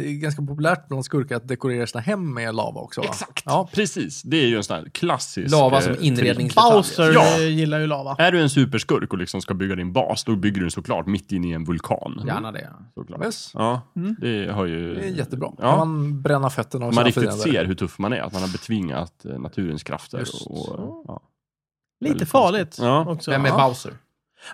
Speaker 4: eh, ganska populärt bland skurkar att dekorera sina hem med lava också. Va?
Speaker 3: Exakt!
Speaker 4: Ja.
Speaker 3: Precis, det är ju en sån här klassisk...
Speaker 2: Lava som
Speaker 3: eh,
Speaker 2: inrednings-
Speaker 1: Bowser
Speaker 3: Ja.
Speaker 1: eh, gillar ju lava.
Speaker 3: Är du en superskurk och liksom ska bygga din bas, då bygger du den såklart mitt inne i en vulkan.
Speaker 2: Gärna det.
Speaker 3: Såklart.
Speaker 4: Yes.
Speaker 3: Ja, det har ju...
Speaker 4: Det är jättebra.
Speaker 3: Mm. Ja.
Speaker 4: Kan man bränna fötterna av
Speaker 3: man
Speaker 4: sina
Speaker 3: riktigt
Speaker 4: fiender.
Speaker 3: ser hur tuff man är, att man har betvingat eh, naturens krafter.
Speaker 4: Just.
Speaker 3: Och, ja.
Speaker 1: Lite
Speaker 3: väldigt
Speaker 1: farligt
Speaker 3: konstigt. Ja.
Speaker 1: också.
Speaker 2: Vem är
Speaker 1: Ja.
Speaker 2: Bowser?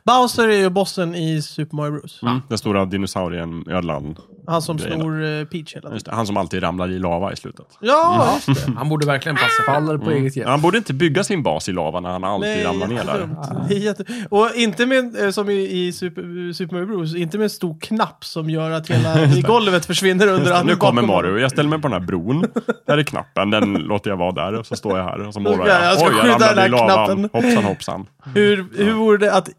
Speaker 1: Bowser är ju bossen i Super Mario Bros.
Speaker 3: mm. Den stora dinosaurien Ödlan.
Speaker 1: Han som
Speaker 3: Grejerna.
Speaker 1: snor eh, Peach hela tiden.
Speaker 3: Just Mm. det, Mm. han som alltid ramlar i lava i slutet.
Speaker 1: Ja, just det.
Speaker 2: Han borde verkligen passa för
Speaker 4: Faller på
Speaker 3: Mm.
Speaker 4: eget grepp.
Speaker 3: Han borde inte bygga sin bas i lava när han alltid ramlar ner
Speaker 1: alltså,
Speaker 3: där.
Speaker 1: jättedumt. Det är jätte... Och inte med, eh, som i, i Super, Super Mario Bros, inte med en stor knapp som gör att
Speaker 3: *laughs*
Speaker 1: hela golvet försvinner under
Speaker 3: Så
Speaker 1: andra
Speaker 3: nu kommer
Speaker 1: bakom
Speaker 3: Mario.
Speaker 1: honom.
Speaker 3: Jag ställer mig på den här bron. Där är knappen. Den låter jag vara där. Och så står jag här och så morrar
Speaker 1: Jag
Speaker 3: jag.
Speaker 1: ska
Speaker 3: Oj, jag
Speaker 1: skydda den
Speaker 3: ramlade
Speaker 1: här
Speaker 3: i lavan.
Speaker 1: knappen.
Speaker 3: Hoppsan hoppsan.
Speaker 1: Hur, hur vore det att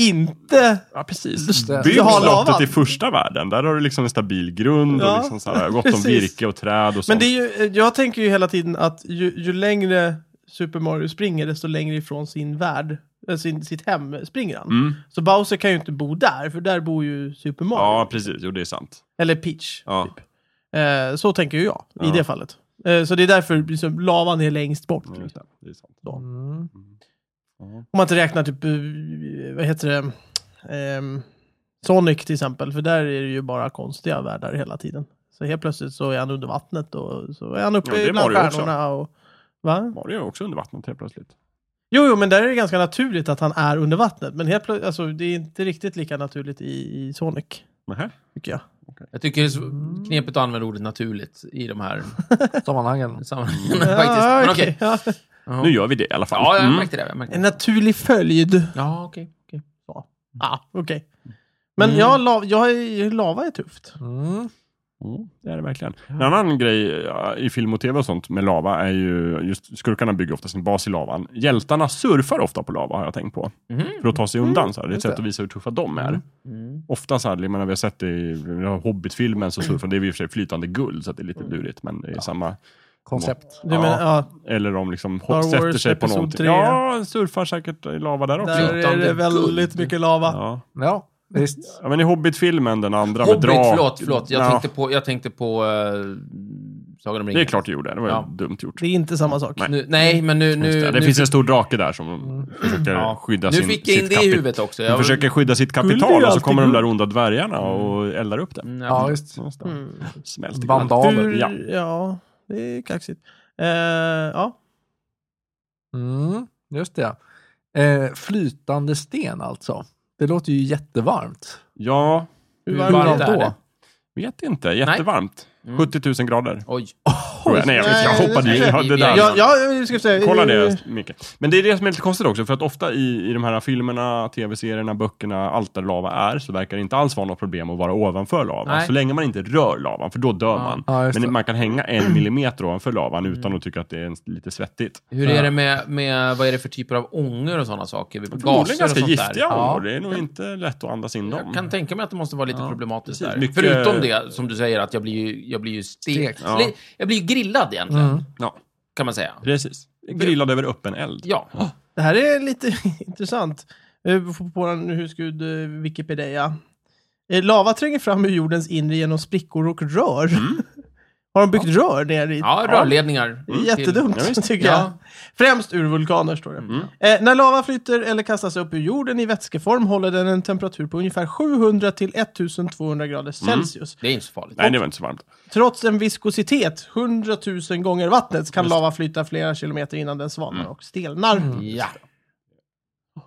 Speaker 1: inte...
Speaker 3: Ja, precis.
Speaker 4: Just det.
Speaker 3: Bygg
Speaker 1: Jag har lavan.
Speaker 3: slottet i första världen. Där har du liksom en stabil grund
Speaker 1: Ja,
Speaker 3: och liksom så här, gott om
Speaker 1: precis.
Speaker 3: virke och träd och sånt.
Speaker 1: Men det är ju, eh, jag tänker ju hela tiden att ju, ju längre Super Mario springer, desto längre ifrån sin värld, eh, sin, sitt hem springer han.
Speaker 3: Mm.
Speaker 1: Så Bowser kan ju inte bo där, för där bor ju Super Mario.
Speaker 3: Ja, precis. Jo, det är sant.
Speaker 1: Eller Peach.
Speaker 3: Ja.
Speaker 1: Typ. Eh, så tänker ju jag i
Speaker 3: Ja.
Speaker 1: det fallet. Eh, så det är därför liksom, lavan är längst bort.
Speaker 3: Ja, just det. Det är sant.
Speaker 4: Mm.
Speaker 1: Om man inte räknar typ, eh, vad heter det, Ehm, Sonic till exempel, för där är det ju bara konstiga världar hela tiden. Så helt plötsligt så är han under vattnet och så är han
Speaker 3: Ja,
Speaker 1: uppe
Speaker 3: det är
Speaker 1: bland
Speaker 3: Mario också.
Speaker 1: stjärnorna. Och, va?
Speaker 3: Mario är också under vattnet helt plötsligt.
Speaker 1: Jo, jo, men där är det ganska naturligt att han är under vattnet. Men helt plötsligt, alltså, det är inte riktigt lika naturligt i, i Sonic,
Speaker 3: Nähä.
Speaker 1: tycker jag.
Speaker 2: Jag tycker det är så knepigt att använda ordet naturligt i de här *laughs*
Speaker 4: Sammanhangen.
Speaker 2: sammanhangen. faktiskt. Men okej.
Speaker 1: Ah, okej, ja.
Speaker 2: Ja.
Speaker 3: Nu gör vi det i alla fall.
Speaker 2: Ja, jag
Speaker 3: Mm.
Speaker 2: märkte det. Jag märkte
Speaker 1: En
Speaker 2: det.
Speaker 1: naturlig följd.
Speaker 2: Ja, okej. okej.
Speaker 1: Ah, okej. Men
Speaker 2: Mm.
Speaker 1: ja, la, jag, är- lava är tufft.
Speaker 4: Mm.
Speaker 3: Mm, det är det verkligen. En annan grej ja, i film och tv och sånt med lava är ju, just skurkarna bygger ofta sin bas i lavan. Hjältarna surfar ofta på lava har jag tänkt på.
Speaker 2: Mhm.
Speaker 3: För att ta sig undan. Så här. Det är ett
Speaker 4: Just
Speaker 3: sätt
Speaker 4: det.
Speaker 3: att visa hur tuffa de är.
Speaker 4: Mm.
Speaker 2: Mm.
Speaker 3: Ofta så här, jag menar, vi har sett det i den här Hobbit-filmen
Speaker 2: *clears throat*
Speaker 3: så surfar, det är i och för sig flytande guld så att det är lite
Speaker 2: Mm.
Speaker 3: lurigt. Men det är samma.
Speaker 4: Koncept.
Speaker 1: Du
Speaker 3: Ja.
Speaker 1: menar, ja,
Speaker 3: Eller de liksom hopp,
Speaker 1: Wars
Speaker 3: sätter sig på
Speaker 1: Episod
Speaker 3: någonting.
Speaker 1: tre.
Speaker 3: Ja, surfar säkert i lava där också.
Speaker 1: där är
Speaker 2: Flytande
Speaker 1: det väldigt
Speaker 2: guld.
Speaker 1: mycket lava.
Speaker 3: Ja.
Speaker 4: Ja, visst.
Speaker 3: ja, men i Hobbit-filmen den andra
Speaker 2: Hobbit,
Speaker 3: med drak.
Speaker 2: förlåt, förlåt. Jag
Speaker 3: Ja,
Speaker 2: tänkte på, jag tänkte på uh, Sagan om ringen.
Speaker 3: Det är klart du gjorde, det var ju
Speaker 2: Ja.
Speaker 3: dumt gjort.
Speaker 1: Det är inte samma sak.
Speaker 3: Nej.
Speaker 2: Nu, nej, men nu... nu
Speaker 3: Just det, det
Speaker 2: nu Mm.
Speaker 3: finns en stor drake där som försöker skydda
Speaker 2: nu
Speaker 3: sin,
Speaker 2: fick jag in
Speaker 3: sitt
Speaker 2: det i
Speaker 3: kapi-
Speaker 2: huvudet också.
Speaker 3: De
Speaker 2: Jag,
Speaker 3: försöker skydda sitt
Speaker 1: Guld är
Speaker 3: kapital
Speaker 1: ju
Speaker 3: och så
Speaker 1: alltid
Speaker 3: kommer de
Speaker 1: guld.
Speaker 3: där onda dvärgarna och eldar upp det.
Speaker 2: Mm,
Speaker 4: Ja,
Speaker 2: ja.
Speaker 4: visst.
Speaker 3: Någonstans.
Speaker 1: Mm.
Speaker 3: Smälter guld.
Speaker 4: Vandaler.
Speaker 1: Hur, ja.
Speaker 3: Ja.
Speaker 1: det är kaxigt. Eh, ja.
Speaker 4: Mm. Just det. Eh, flytande sten alltså. Det låter ju jättevarmt.
Speaker 3: Ja,
Speaker 1: Hur
Speaker 2: Hur
Speaker 1: varmt
Speaker 2: varmt
Speaker 1: är
Speaker 2: är
Speaker 1: det?
Speaker 2: det?
Speaker 3: vet inte. Jättevarmt.
Speaker 2: Mm.
Speaker 3: 70 000 grader.
Speaker 2: Oj.
Speaker 3: tror jag. Nej, jag, vet, jag
Speaker 1: Nej,
Speaker 3: hoppade
Speaker 1: det
Speaker 3: ju.
Speaker 1: ska
Speaker 3: Ja,
Speaker 2: jag-
Speaker 3: Det där.
Speaker 1: Ja, ja, vi ska säga.
Speaker 3: Kolla
Speaker 1: eh,
Speaker 3: det, Micke. Men det är det som är lite konstigt också, för att ofta i, i de här filmerna, tv-serierna, böckerna, allt där lava är, så verkar det inte alls vara något problem att vara ovanför lavan.
Speaker 2: Nej.
Speaker 3: Så länge man inte rör lavan, för då dör man.
Speaker 4: Ja, just det.
Speaker 3: Men man kan hänga en millimeter ovanför lavan utan att tycka att det är en- lite svettigt.
Speaker 2: Hur är det med, med, vad är det för typer av ångor och sådana saker? Gaser
Speaker 3: Förmodligen
Speaker 2: och
Speaker 3: ganska
Speaker 2: sånt
Speaker 3: giftiga
Speaker 2: där?
Speaker 3: ångor. Det är nog inte lätt att andas in
Speaker 2: Jag
Speaker 3: dem.
Speaker 2: kan tänka mig att det måste vara lite problematiskt
Speaker 3: precis.
Speaker 2: där.
Speaker 3: Mycket-
Speaker 2: Förutom det, som du säger, att jag blir ju, jag blir ju stekt.
Speaker 4: Stekt.
Speaker 3: Ja.
Speaker 2: Eller, Jag blir ju grillad egentligen,
Speaker 4: Mm.
Speaker 3: Ja,
Speaker 2: kan man säga.
Speaker 3: precis. Grillad över öppen eld.
Speaker 2: Ja.
Speaker 1: Det här är lite *laughs* intressant. Eh, Vi får på den husgud eh, Wikipedia. Eh, Lava tränger fram ur jordens inre genom sprickor och rör. *laughs* Har de byggt rör ner i?
Speaker 2: Mm. Ja, rörledningar.
Speaker 1: Det är Jättedumt,
Speaker 3: Ja,
Speaker 1: *laughs*
Speaker 3: visst.
Speaker 1: tycker jag.
Speaker 2: Ja. Mm.
Speaker 1: Främst ur vulkaner, står det. Eh, när lava flyter eller kastas upp ur jorden i vätskeform håller den en temperatur på ungefär 700 till 1200 grader
Speaker 2: Mm.
Speaker 1: Celsius.
Speaker 2: Det är inte så farligt.
Speaker 3: Nej, det var inte så varmt.
Speaker 1: Trots en viskositet 100 000 gånger vattnet kan lava flyta flera kilometer innan den svalnar
Speaker 2: Mm.
Speaker 1: och stelnar.
Speaker 2: Ja.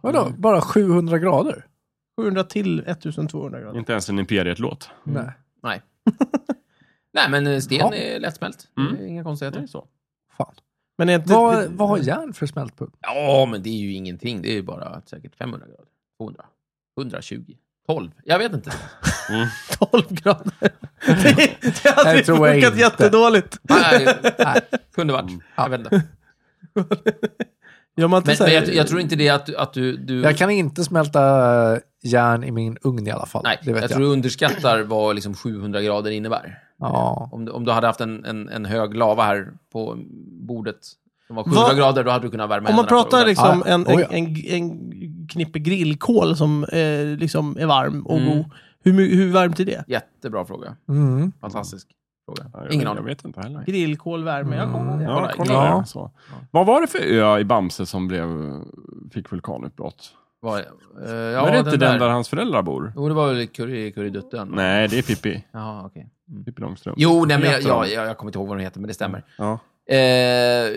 Speaker 4: Vadå, bara 700 grader?
Speaker 1: 700 till 1200 grader.
Speaker 3: Inte ens en Imperiet-låt.
Speaker 4: Nej.
Speaker 2: Nej. Nej, men eh, sten
Speaker 4: Ja.
Speaker 2: är lättsmält.
Speaker 3: Mm.
Speaker 2: Det är Inga konstigheter.
Speaker 4: Fan.
Speaker 1: Men är inte...
Speaker 4: Vad,
Speaker 1: *laughs*
Speaker 4: vad har järn för smältpunkt?
Speaker 2: Ja, men det är ju ingenting. Det är ju bara säkert 500 grader. 200. 120. 12. Jag vet inte.
Speaker 1: 12 grader.
Speaker 4: *laughs*
Speaker 1: Det, det hade
Speaker 4: Nej,
Speaker 1: ju
Speaker 4: tror jag
Speaker 1: funkat
Speaker 4: inte.
Speaker 1: jättedåligt.
Speaker 2: Nej,
Speaker 4: Nej.
Speaker 2: kunde varit. Jag vet inte.
Speaker 1: Gör man inte
Speaker 2: Men,
Speaker 1: så
Speaker 2: men
Speaker 1: här-
Speaker 2: jag, jag tror inte det att, du- att du... du
Speaker 4: Jag kan inte smälta järn i min ugn i alla fall.
Speaker 2: nej,
Speaker 4: det vet
Speaker 2: jag,
Speaker 4: jag.
Speaker 2: tror du underskattar vad liksom 700 grader innebär.
Speaker 4: Ja.
Speaker 2: Om du, om du hade haft en, en, en hög lava här på bordet som var 700
Speaker 1: Vad-
Speaker 2: grader, då hade du kunnat värma
Speaker 1: Om man
Speaker 2: händerna på
Speaker 1: pratar
Speaker 2: det.
Speaker 1: liksom
Speaker 4: Ja,
Speaker 1: en,
Speaker 4: oh
Speaker 1: en,
Speaker 4: ja.
Speaker 1: en, en knippe grillkål som eh, liksom är varm
Speaker 2: Mm.
Speaker 1: och god. Hur, my- hur varmt är det?
Speaker 2: Jättebra fråga.
Speaker 4: Mm.
Speaker 2: Fantastisk fråga.
Speaker 3: Ja, jag-
Speaker 2: Ingen
Speaker 3: Jag
Speaker 2: aning.
Speaker 3: vet inte heller.
Speaker 1: Grillkål, värme. Jag kommer ihåg.
Speaker 3: Ja,
Speaker 2: Kolla,
Speaker 3: kolla
Speaker 4: ja.
Speaker 3: det. Så. Vad var det för ö i Bamse som blev, fick vulkanutbrott?
Speaker 2: Vad- eh, ja,
Speaker 3: Ja, var det inte den där.
Speaker 2: där.
Speaker 3: hans föräldrar bor?
Speaker 2: Jo, det var väl Curry- Currydutten?
Speaker 3: Nej, det är Pippi.
Speaker 2: Jaha, okej. Mm.
Speaker 3: Pippi Långstrump.
Speaker 2: Jo, nej, men jag,
Speaker 3: Heter
Speaker 2: jag,
Speaker 3: de?
Speaker 2: jag, jag kommer inte ihåg vad den heter, men det stämmer.
Speaker 3: Ja.
Speaker 2: Eh,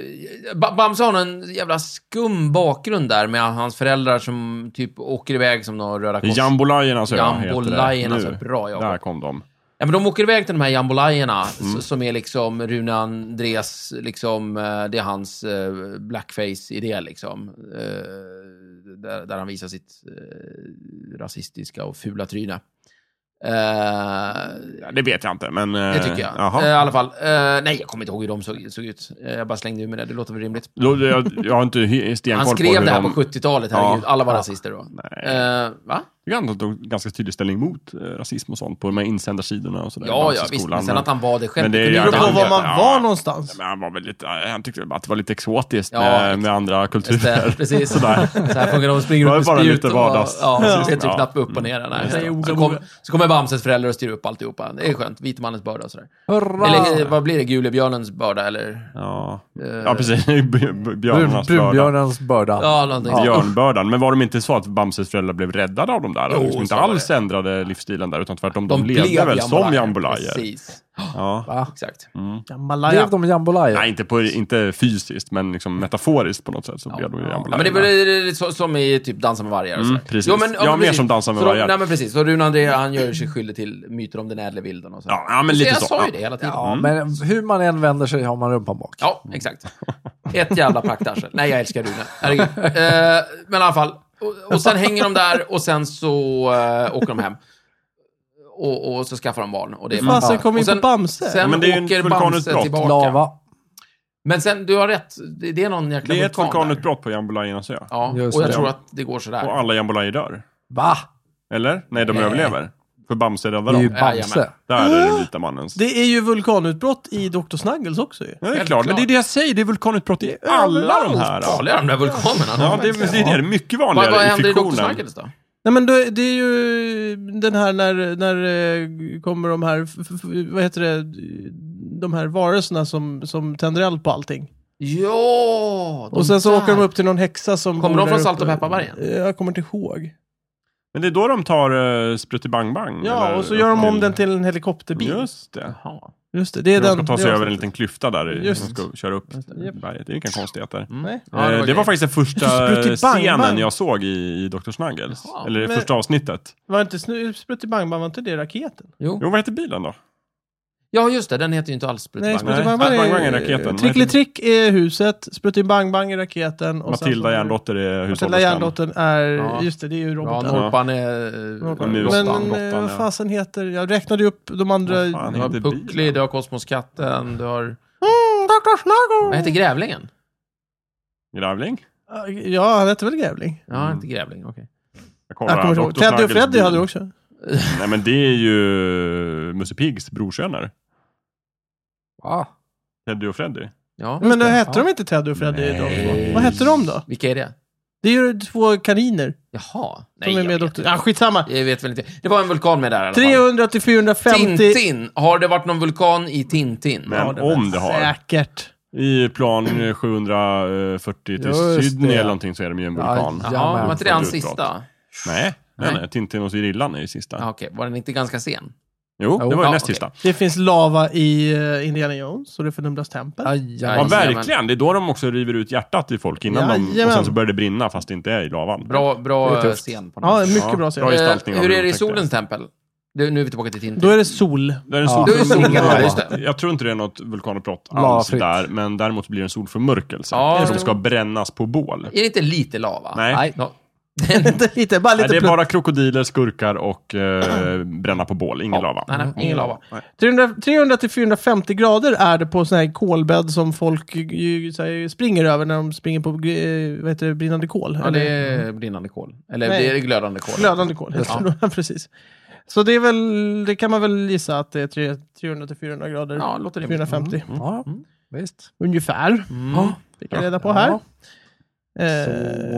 Speaker 2: Ba- Bamse har en jävla skum bakgrund där med hans föräldrar som typ åker iväg som några Röda
Speaker 3: Det är
Speaker 2: Kors...
Speaker 3: Jambolajernas ö
Speaker 2: Jambolajen,
Speaker 3: heter det
Speaker 2: alltså.
Speaker 3: nu.
Speaker 2: Bra
Speaker 3: Där
Speaker 2: jobbat.
Speaker 3: kom de.
Speaker 2: Ja, men de åker iväg till de här jambolajerna
Speaker 3: Mm.
Speaker 2: s- som är liksom Rune Andrés, liksom, eh, det är hans eh, blackface-idé liksom. Eh, Där, där han visar sitt eh, rasistiska och fula tryne. Eh,
Speaker 3: Ja, det vet jag inte, men...
Speaker 2: Det tycker jag. Eh, I alla fall. Eh, nej, jag kommer inte ihåg hur de såg, såg ut. Eh, jag bara slängde ur mig det. Det låter väl rimligt.
Speaker 3: Då, jag, jag har inte hy- stenkoll
Speaker 2: Han
Speaker 3: på
Speaker 2: skrev
Speaker 3: hur
Speaker 2: det här
Speaker 3: de...
Speaker 2: på 70-talet,
Speaker 3: Ja.
Speaker 2: herregud. Alla var
Speaker 4: Ja.
Speaker 2: rasister då.
Speaker 3: Nej,
Speaker 2: Eh, va?
Speaker 3: jag tycker han tog ganska tydlig ställning mot eh, rasism och sånt på de här insändarsidorna och sådär.
Speaker 2: Ja, ja,
Speaker 3: Bamseskolan,
Speaker 2: visst. Men sen
Speaker 3: men-
Speaker 2: att han var det själv.
Speaker 3: Men det är
Speaker 2: kunde
Speaker 3: ju-
Speaker 1: Det
Speaker 2: inte
Speaker 1: beror på
Speaker 2: han
Speaker 1: var
Speaker 2: göra.
Speaker 1: man
Speaker 3: Ja.
Speaker 1: var någonstans.
Speaker 3: Men han, var väl lite, han tyckte att det var lite exotiskt
Speaker 2: Ja,
Speaker 3: med,
Speaker 2: exakt.
Speaker 3: med andra
Speaker 2: Stä-
Speaker 3: kulturer.
Speaker 2: Precis. Så
Speaker 3: Sådär.
Speaker 2: här funkar de. De springer
Speaker 3: Det var
Speaker 2: upp med
Speaker 3: bara
Speaker 2: spjut
Speaker 3: lite
Speaker 2: och-
Speaker 3: vardags.
Speaker 2: Ja,
Speaker 3: Precis.
Speaker 2: så det
Speaker 3: Ja. Mm.
Speaker 2: är knappt upp och ner. Nej,
Speaker 1: Säger
Speaker 2: så,
Speaker 1: ord
Speaker 2: så,
Speaker 1: om
Speaker 2: kommer,
Speaker 1: ord.
Speaker 2: så kommer Bamses föräldrar och styr upp alltihopa. Det är skönt. Vitmannens börda och sådär.
Speaker 4: Hurra!
Speaker 2: Eller eh, vad blir det? Gulebjörnens börda? Eller?
Speaker 3: Ja.
Speaker 2: eh,
Speaker 3: ja, precis. *laughs* Björ- Björnarnas
Speaker 4: Brun-
Speaker 3: börda.
Speaker 4: Brunbjörnens börda.
Speaker 2: Ja, någonting.
Speaker 3: Ja.
Speaker 2: sånt.
Speaker 3: Björnbördan. Men var de inte så att Bamses föräldrar blev räddade av dem där?
Speaker 2: Jo,
Speaker 3: Jo, liksom inte
Speaker 2: så var
Speaker 3: alls ändrade livsstilen där, utan tvärtom, de,
Speaker 2: De
Speaker 3: levde
Speaker 2: blev
Speaker 3: väl som Mm. jambolajer?
Speaker 2: Precis.
Speaker 3: Ja.
Speaker 4: Va?
Speaker 2: Exakt.
Speaker 1: Jambalaya.
Speaker 4: Blev de jambolaya?
Speaker 3: Nej, inte, på, inte fysiskt, men liksom metaforiskt på något sätt så blev de ju
Speaker 2: Ja,
Speaker 3: jambolajer.
Speaker 2: men det är väl- det är lite så, som i typ Dansa med vargar och
Speaker 3: Mm,
Speaker 2: sådär.
Speaker 3: precis. Ja, mer som Dansa med
Speaker 2: Så de-
Speaker 3: vargar.
Speaker 2: Nej, men precis. Så Rune André, han gör sig skyldig till myter om den ädle vilden och så.
Speaker 3: Ja, ja, men lite
Speaker 2: jag
Speaker 3: så.
Speaker 2: sa ju
Speaker 3: Ja.
Speaker 2: det hela tiden.
Speaker 4: Ja,
Speaker 2: Ja,
Speaker 4: men hur man än vänder sig har man rumpan bak.
Speaker 2: exakt. Ett jävla praktarsel. Nej, jag älskar Rune. Herregud. Eh, men i alla fall. Och, och sen hänger de där och sen så eh, åker de hem. Och, och så skaffar de barn. Och det är
Speaker 1: Hur fasen kom vi in
Speaker 2: Och
Speaker 1: på
Speaker 2: sen-
Speaker 1: Bamse?
Speaker 2: Sen
Speaker 3: Men det är ju en
Speaker 2: åker
Speaker 3: vulkanutbrott.
Speaker 2: Bamse tillbaka.
Speaker 4: Lava.
Speaker 2: Men sen, du har rätt. Det det är någon jäkla
Speaker 3: Det är ett
Speaker 2: vulkan där.
Speaker 3: vulkanutbrott på jambolajernas ö.
Speaker 2: Ja,
Speaker 4: Just
Speaker 2: och jag
Speaker 4: det.
Speaker 2: tror att det går sådär.
Speaker 3: Och alla jambolajer dör.
Speaker 4: Va?
Speaker 3: Eller? Nej, de
Speaker 2: Nej.
Speaker 3: överlever. För Bamse räddar
Speaker 4: Det är ju
Speaker 3: dem.
Speaker 4: Bamse.
Speaker 2: Jajamän.
Speaker 3: Där är den vita mannens.
Speaker 1: Det är ju vulkanutbrott i Dr. Snuggles också ju.
Speaker 3: Ja, det är
Speaker 2: Helt
Speaker 3: klart. Men
Speaker 2: klart.
Speaker 3: det är det jag säger, det är vulkanutbrott i alla de här. Ja,
Speaker 2: Farliga de där vulkanerna.
Speaker 3: Ja, det, är- det är det. Mycket
Speaker 2: vad,
Speaker 3: vanligare
Speaker 2: vad
Speaker 3: i
Speaker 2: händer i Dr.
Speaker 3: fiktionen.
Speaker 2: Snuggles då?
Speaker 1: Nej men det, det är ju den här när, när eh, kommer de här, f- f- vad heter det, de här varelserna som, som tänder eld på allting.
Speaker 2: Ja, de
Speaker 1: Och sen så
Speaker 2: där.
Speaker 1: åker de upp till någon häxa som
Speaker 2: Kommer
Speaker 1: bor
Speaker 2: de från
Speaker 1: där
Speaker 2: Salt och
Speaker 1: uppe.
Speaker 2: pepparbergen?
Speaker 1: Eh, Jag kommer inte
Speaker 3: Mm,
Speaker 1: ihåg.
Speaker 3: Men det är då de tar uh, Bang Bang.
Speaker 1: Ja,
Speaker 3: eller-
Speaker 1: och så gör de om den till en helikopterbil. Just,
Speaker 3: Just det.
Speaker 2: Jaha.
Speaker 1: det, det är
Speaker 3: de
Speaker 1: den.
Speaker 3: ska ta
Speaker 1: det
Speaker 3: sig
Speaker 1: är
Speaker 3: över
Speaker 1: avsnittet.
Speaker 3: en liten klyfta där. i- De
Speaker 1: Just.
Speaker 3: ska köra upp
Speaker 1: Japp. Mm.
Speaker 3: berget. Det är inga konstigheter.
Speaker 1: Nej.
Speaker 2: Ja,
Speaker 3: Eh, det var
Speaker 2: grejen.
Speaker 3: faktiskt
Speaker 1: *laughs*
Speaker 3: den första
Speaker 1: Sprutt i Bang
Speaker 3: scenen
Speaker 1: Bang.
Speaker 3: jag såg i, i Dr. Snuggles.
Speaker 2: Jaha.
Speaker 3: Eller det
Speaker 1: Men-
Speaker 3: första avsnittet.
Speaker 1: Var inte Snu- Sprutt i Bang Bang, var inte det raketen?
Speaker 2: Jo.
Speaker 3: Jo, vad heter bilen då?
Speaker 2: Ja, just det. Den heter ju inte alls
Speaker 1: Nej,
Speaker 2: Sprutbang.
Speaker 1: Sprut- Bang, bang
Speaker 3: Bang, bang, bang
Speaker 1: är-
Speaker 3: är raketen.
Speaker 1: Trickelitrick är huset, Sprutin Bang Bang är raketen. Och sen så-
Speaker 3: Matilda Järndotter är
Speaker 1: Matilda
Speaker 3: hushållerskan.
Speaker 1: Järndottern är,
Speaker 2: Ja.
Speaker 1: just det, det är ju
Speaker 2: Ja,
Speaker 1: roboten.
Speaker 2: Norpan är... eh,
Speaker 1: Norpan.
Speaker 3: Men-
Speaker 2: Lottan.
Speaker 3: Lottan,
Speaker 1: Men eh,
Speaker 3: Lottan,
Speaker 1: vad
Speaker 3: ja.
Speaker 1: fasen heter, jag räknade ju upp de andra.
Speaker 3: Vad fan
Speaker 2: Du har
Speaker 3: heter
Speaker 2: Puckli,
Speaker 3: bilen?
Speaker 2: du har Kosmoskatten, du har...
Speaker 1: Mm, Dr.
Speaker 2: Vad
Speaker 1: Snago!
Speaker 2: heter Grävlingen?
Speaker 3: Grävling?
Speaker 1: Ja, han hette väl Grävling?
Speaker 2: Ja,
Speaker 3: Mm.
Speaker 2: inte Grävling, okej.
Speaker 3: Jag
Speaker 1: Jag kommer inte ihåg.
Speaker 3: Dr.
Speaker 1: Teddy och
Speaker 3: Snuggles
Speaker 1: Freddy
Speaker 3: bil.
Speaker 1: hade du också.
Speaker 3: Nej men det är ju Musse Piggs brorsöner.
Speaker 4: Wow.
Speaker 3: Teddy och Freddy.
Speaker 2: Ja.
Speaker 1: Men då
Speaker 4: det.
Speaker 1: hette
Speaker 4: Ja.
Speaker 1: de inte Teddy och Freddy?
Speaker 3: Nej.
Speaker 1: De två? Vad hette de då?
Speaker 2: Vilka är det?
Speaker 1: Det är ju två kaniner
Speaker 2: Jaha. Nej,
Speaker 1: som är med.
Speaker 2: jag vet
Speaker 1: Doktor. Ah, skitsamma.
Speaker 2: Jag vet väl inte. Det var en vulkan med där i alla fall.
Speaker 1: 300 till 450.
Speaker 2: Tintin! Har det varit någon vulkan i Tintin?
Speaker 3: Men
Speaker 1: det
Speaker 3: om
Speaker 1: var
Speaker 3: det har.
Speaker 1: Säkert.
Speaker 3: I plan 740 till
Speaker 4: Just det.
Speaker 3: Sydney eller någonting så är de ju en
Speaker 4: Ja,
Speaker 3: vulkan.
Speaker 4: ja.
Speaker 2: Jaha, var inte det hans
Speaker 3: Utbrott.
Speaker 2: sista?
Speaker 3: Nej, nej,
Speaker 2: Nej.
Speaker 3: nej. Tintin och Sirillan är ju sista.
Speaker 2: Ja, okej. Var den inte ganska sen?
Speaker 3: Jo, det
Speaker 4: Jo.
Speaker 3: var ju
Speaker 2: Ja,
Speaker 3: näst
Speaker 2: okej.
Speaker 3: sista.
Speaker 1: Det finns lava i eh, Indiana Jones och det förnumlas tempel.
Speaker 4: Ajaj.
Speaker 2: Ja,
Speaker 3: Ja,
Speaker 2: jajamän.
Speaker 3: verkligen. Det är då de också river ut hjärtat i folk innan de... Och
Speaker 1: Jajamän.
Speaker 3: sen så börjar det brinna fast det inte är i lavan.
Speaker 2: Bra,
Speaker 4: Det är
Speaker 2: bra eh,
Speaker 4: tufft.
Speaker 2: scen på
Speaker 1: Ja,
Speaker 2: något sätt.
Speaker 1: mycket
Speaker 3: Ja,
Speaker 1: bra
Speaker 3: bra
Speaker 1: scen.
Speaker 3: ju- gestaltning
Speaker 2: Eh,
Speaker 3: av
Speaker 2: Hur
Speaker 3: hur
Speaker 2: är det
Speaker 3: de
Speaker 2: i
Speaker 3: upptäckte
Speaker 2: Solens tempel? Det- Nu är vi tillbaka till Tintin.
Speaker 1: Då är det sol.
Speaker 3: Det är en
Speaker 4: Ja.
Speaker 3: sol...
Speaker 2: Då är det solen,
Speaker 4: Ja,
Speaker 2: just det.
Speaker 3: Jag tror inte det är något vulkanutbrott
Speaker 4: Lava
Speaker 3: alls
Speaker 4: fritt.
Speaker 3: där, men däremot blir det en solförmörkelse
Speaker 2: Ja,
Speaker 3: som
Speaker 2: jo.
Speaker 3: ska brännas på bål.
Speaker 2: Är det inte lite lava?
Speaker 3: Nej.
Speaker 4: Nej.
Speaker 2: Ja.
Speaker 1: Inte lite, bara
Speaker 3: Nej,
Speaker 1: lite
Speaker 3: det är
Speaker 1: plutt.
Speaker 3: bara krokodiler, skurkar och eh, *clears throat* bränna på bål, ingen lava.
Speaker 2: Nej, nej, ingen lava.
Speaker 1: 300 300 till 450 grader är det på sån här kolbädd som folk ju, ju, så här, springer över när de springer på eh, vad heter det, brinnande kol.
Speaker 2: Ja, det är brinnande kol. Eller
Speaker 1: Nej.
Speaker 2: det är glödande kol.
Speaker 1: Glödande kol, heter det. *laughs* ja. precis. Så det är väl, det kan man väl gissa att det är tre- 300 till 400 grader.
Speaker 2: Ja, låter rimligt.
Speaker 1: 450
Speaker 4: Ja, visst.
Speaker 1: ungefär.
Speaker 2: Mm.
Speaker 4: Mm. Ja.
Speaker 1: Fick jag reda Mm. på här.
Speaker 4: Ja.
Speaker 1: Eh,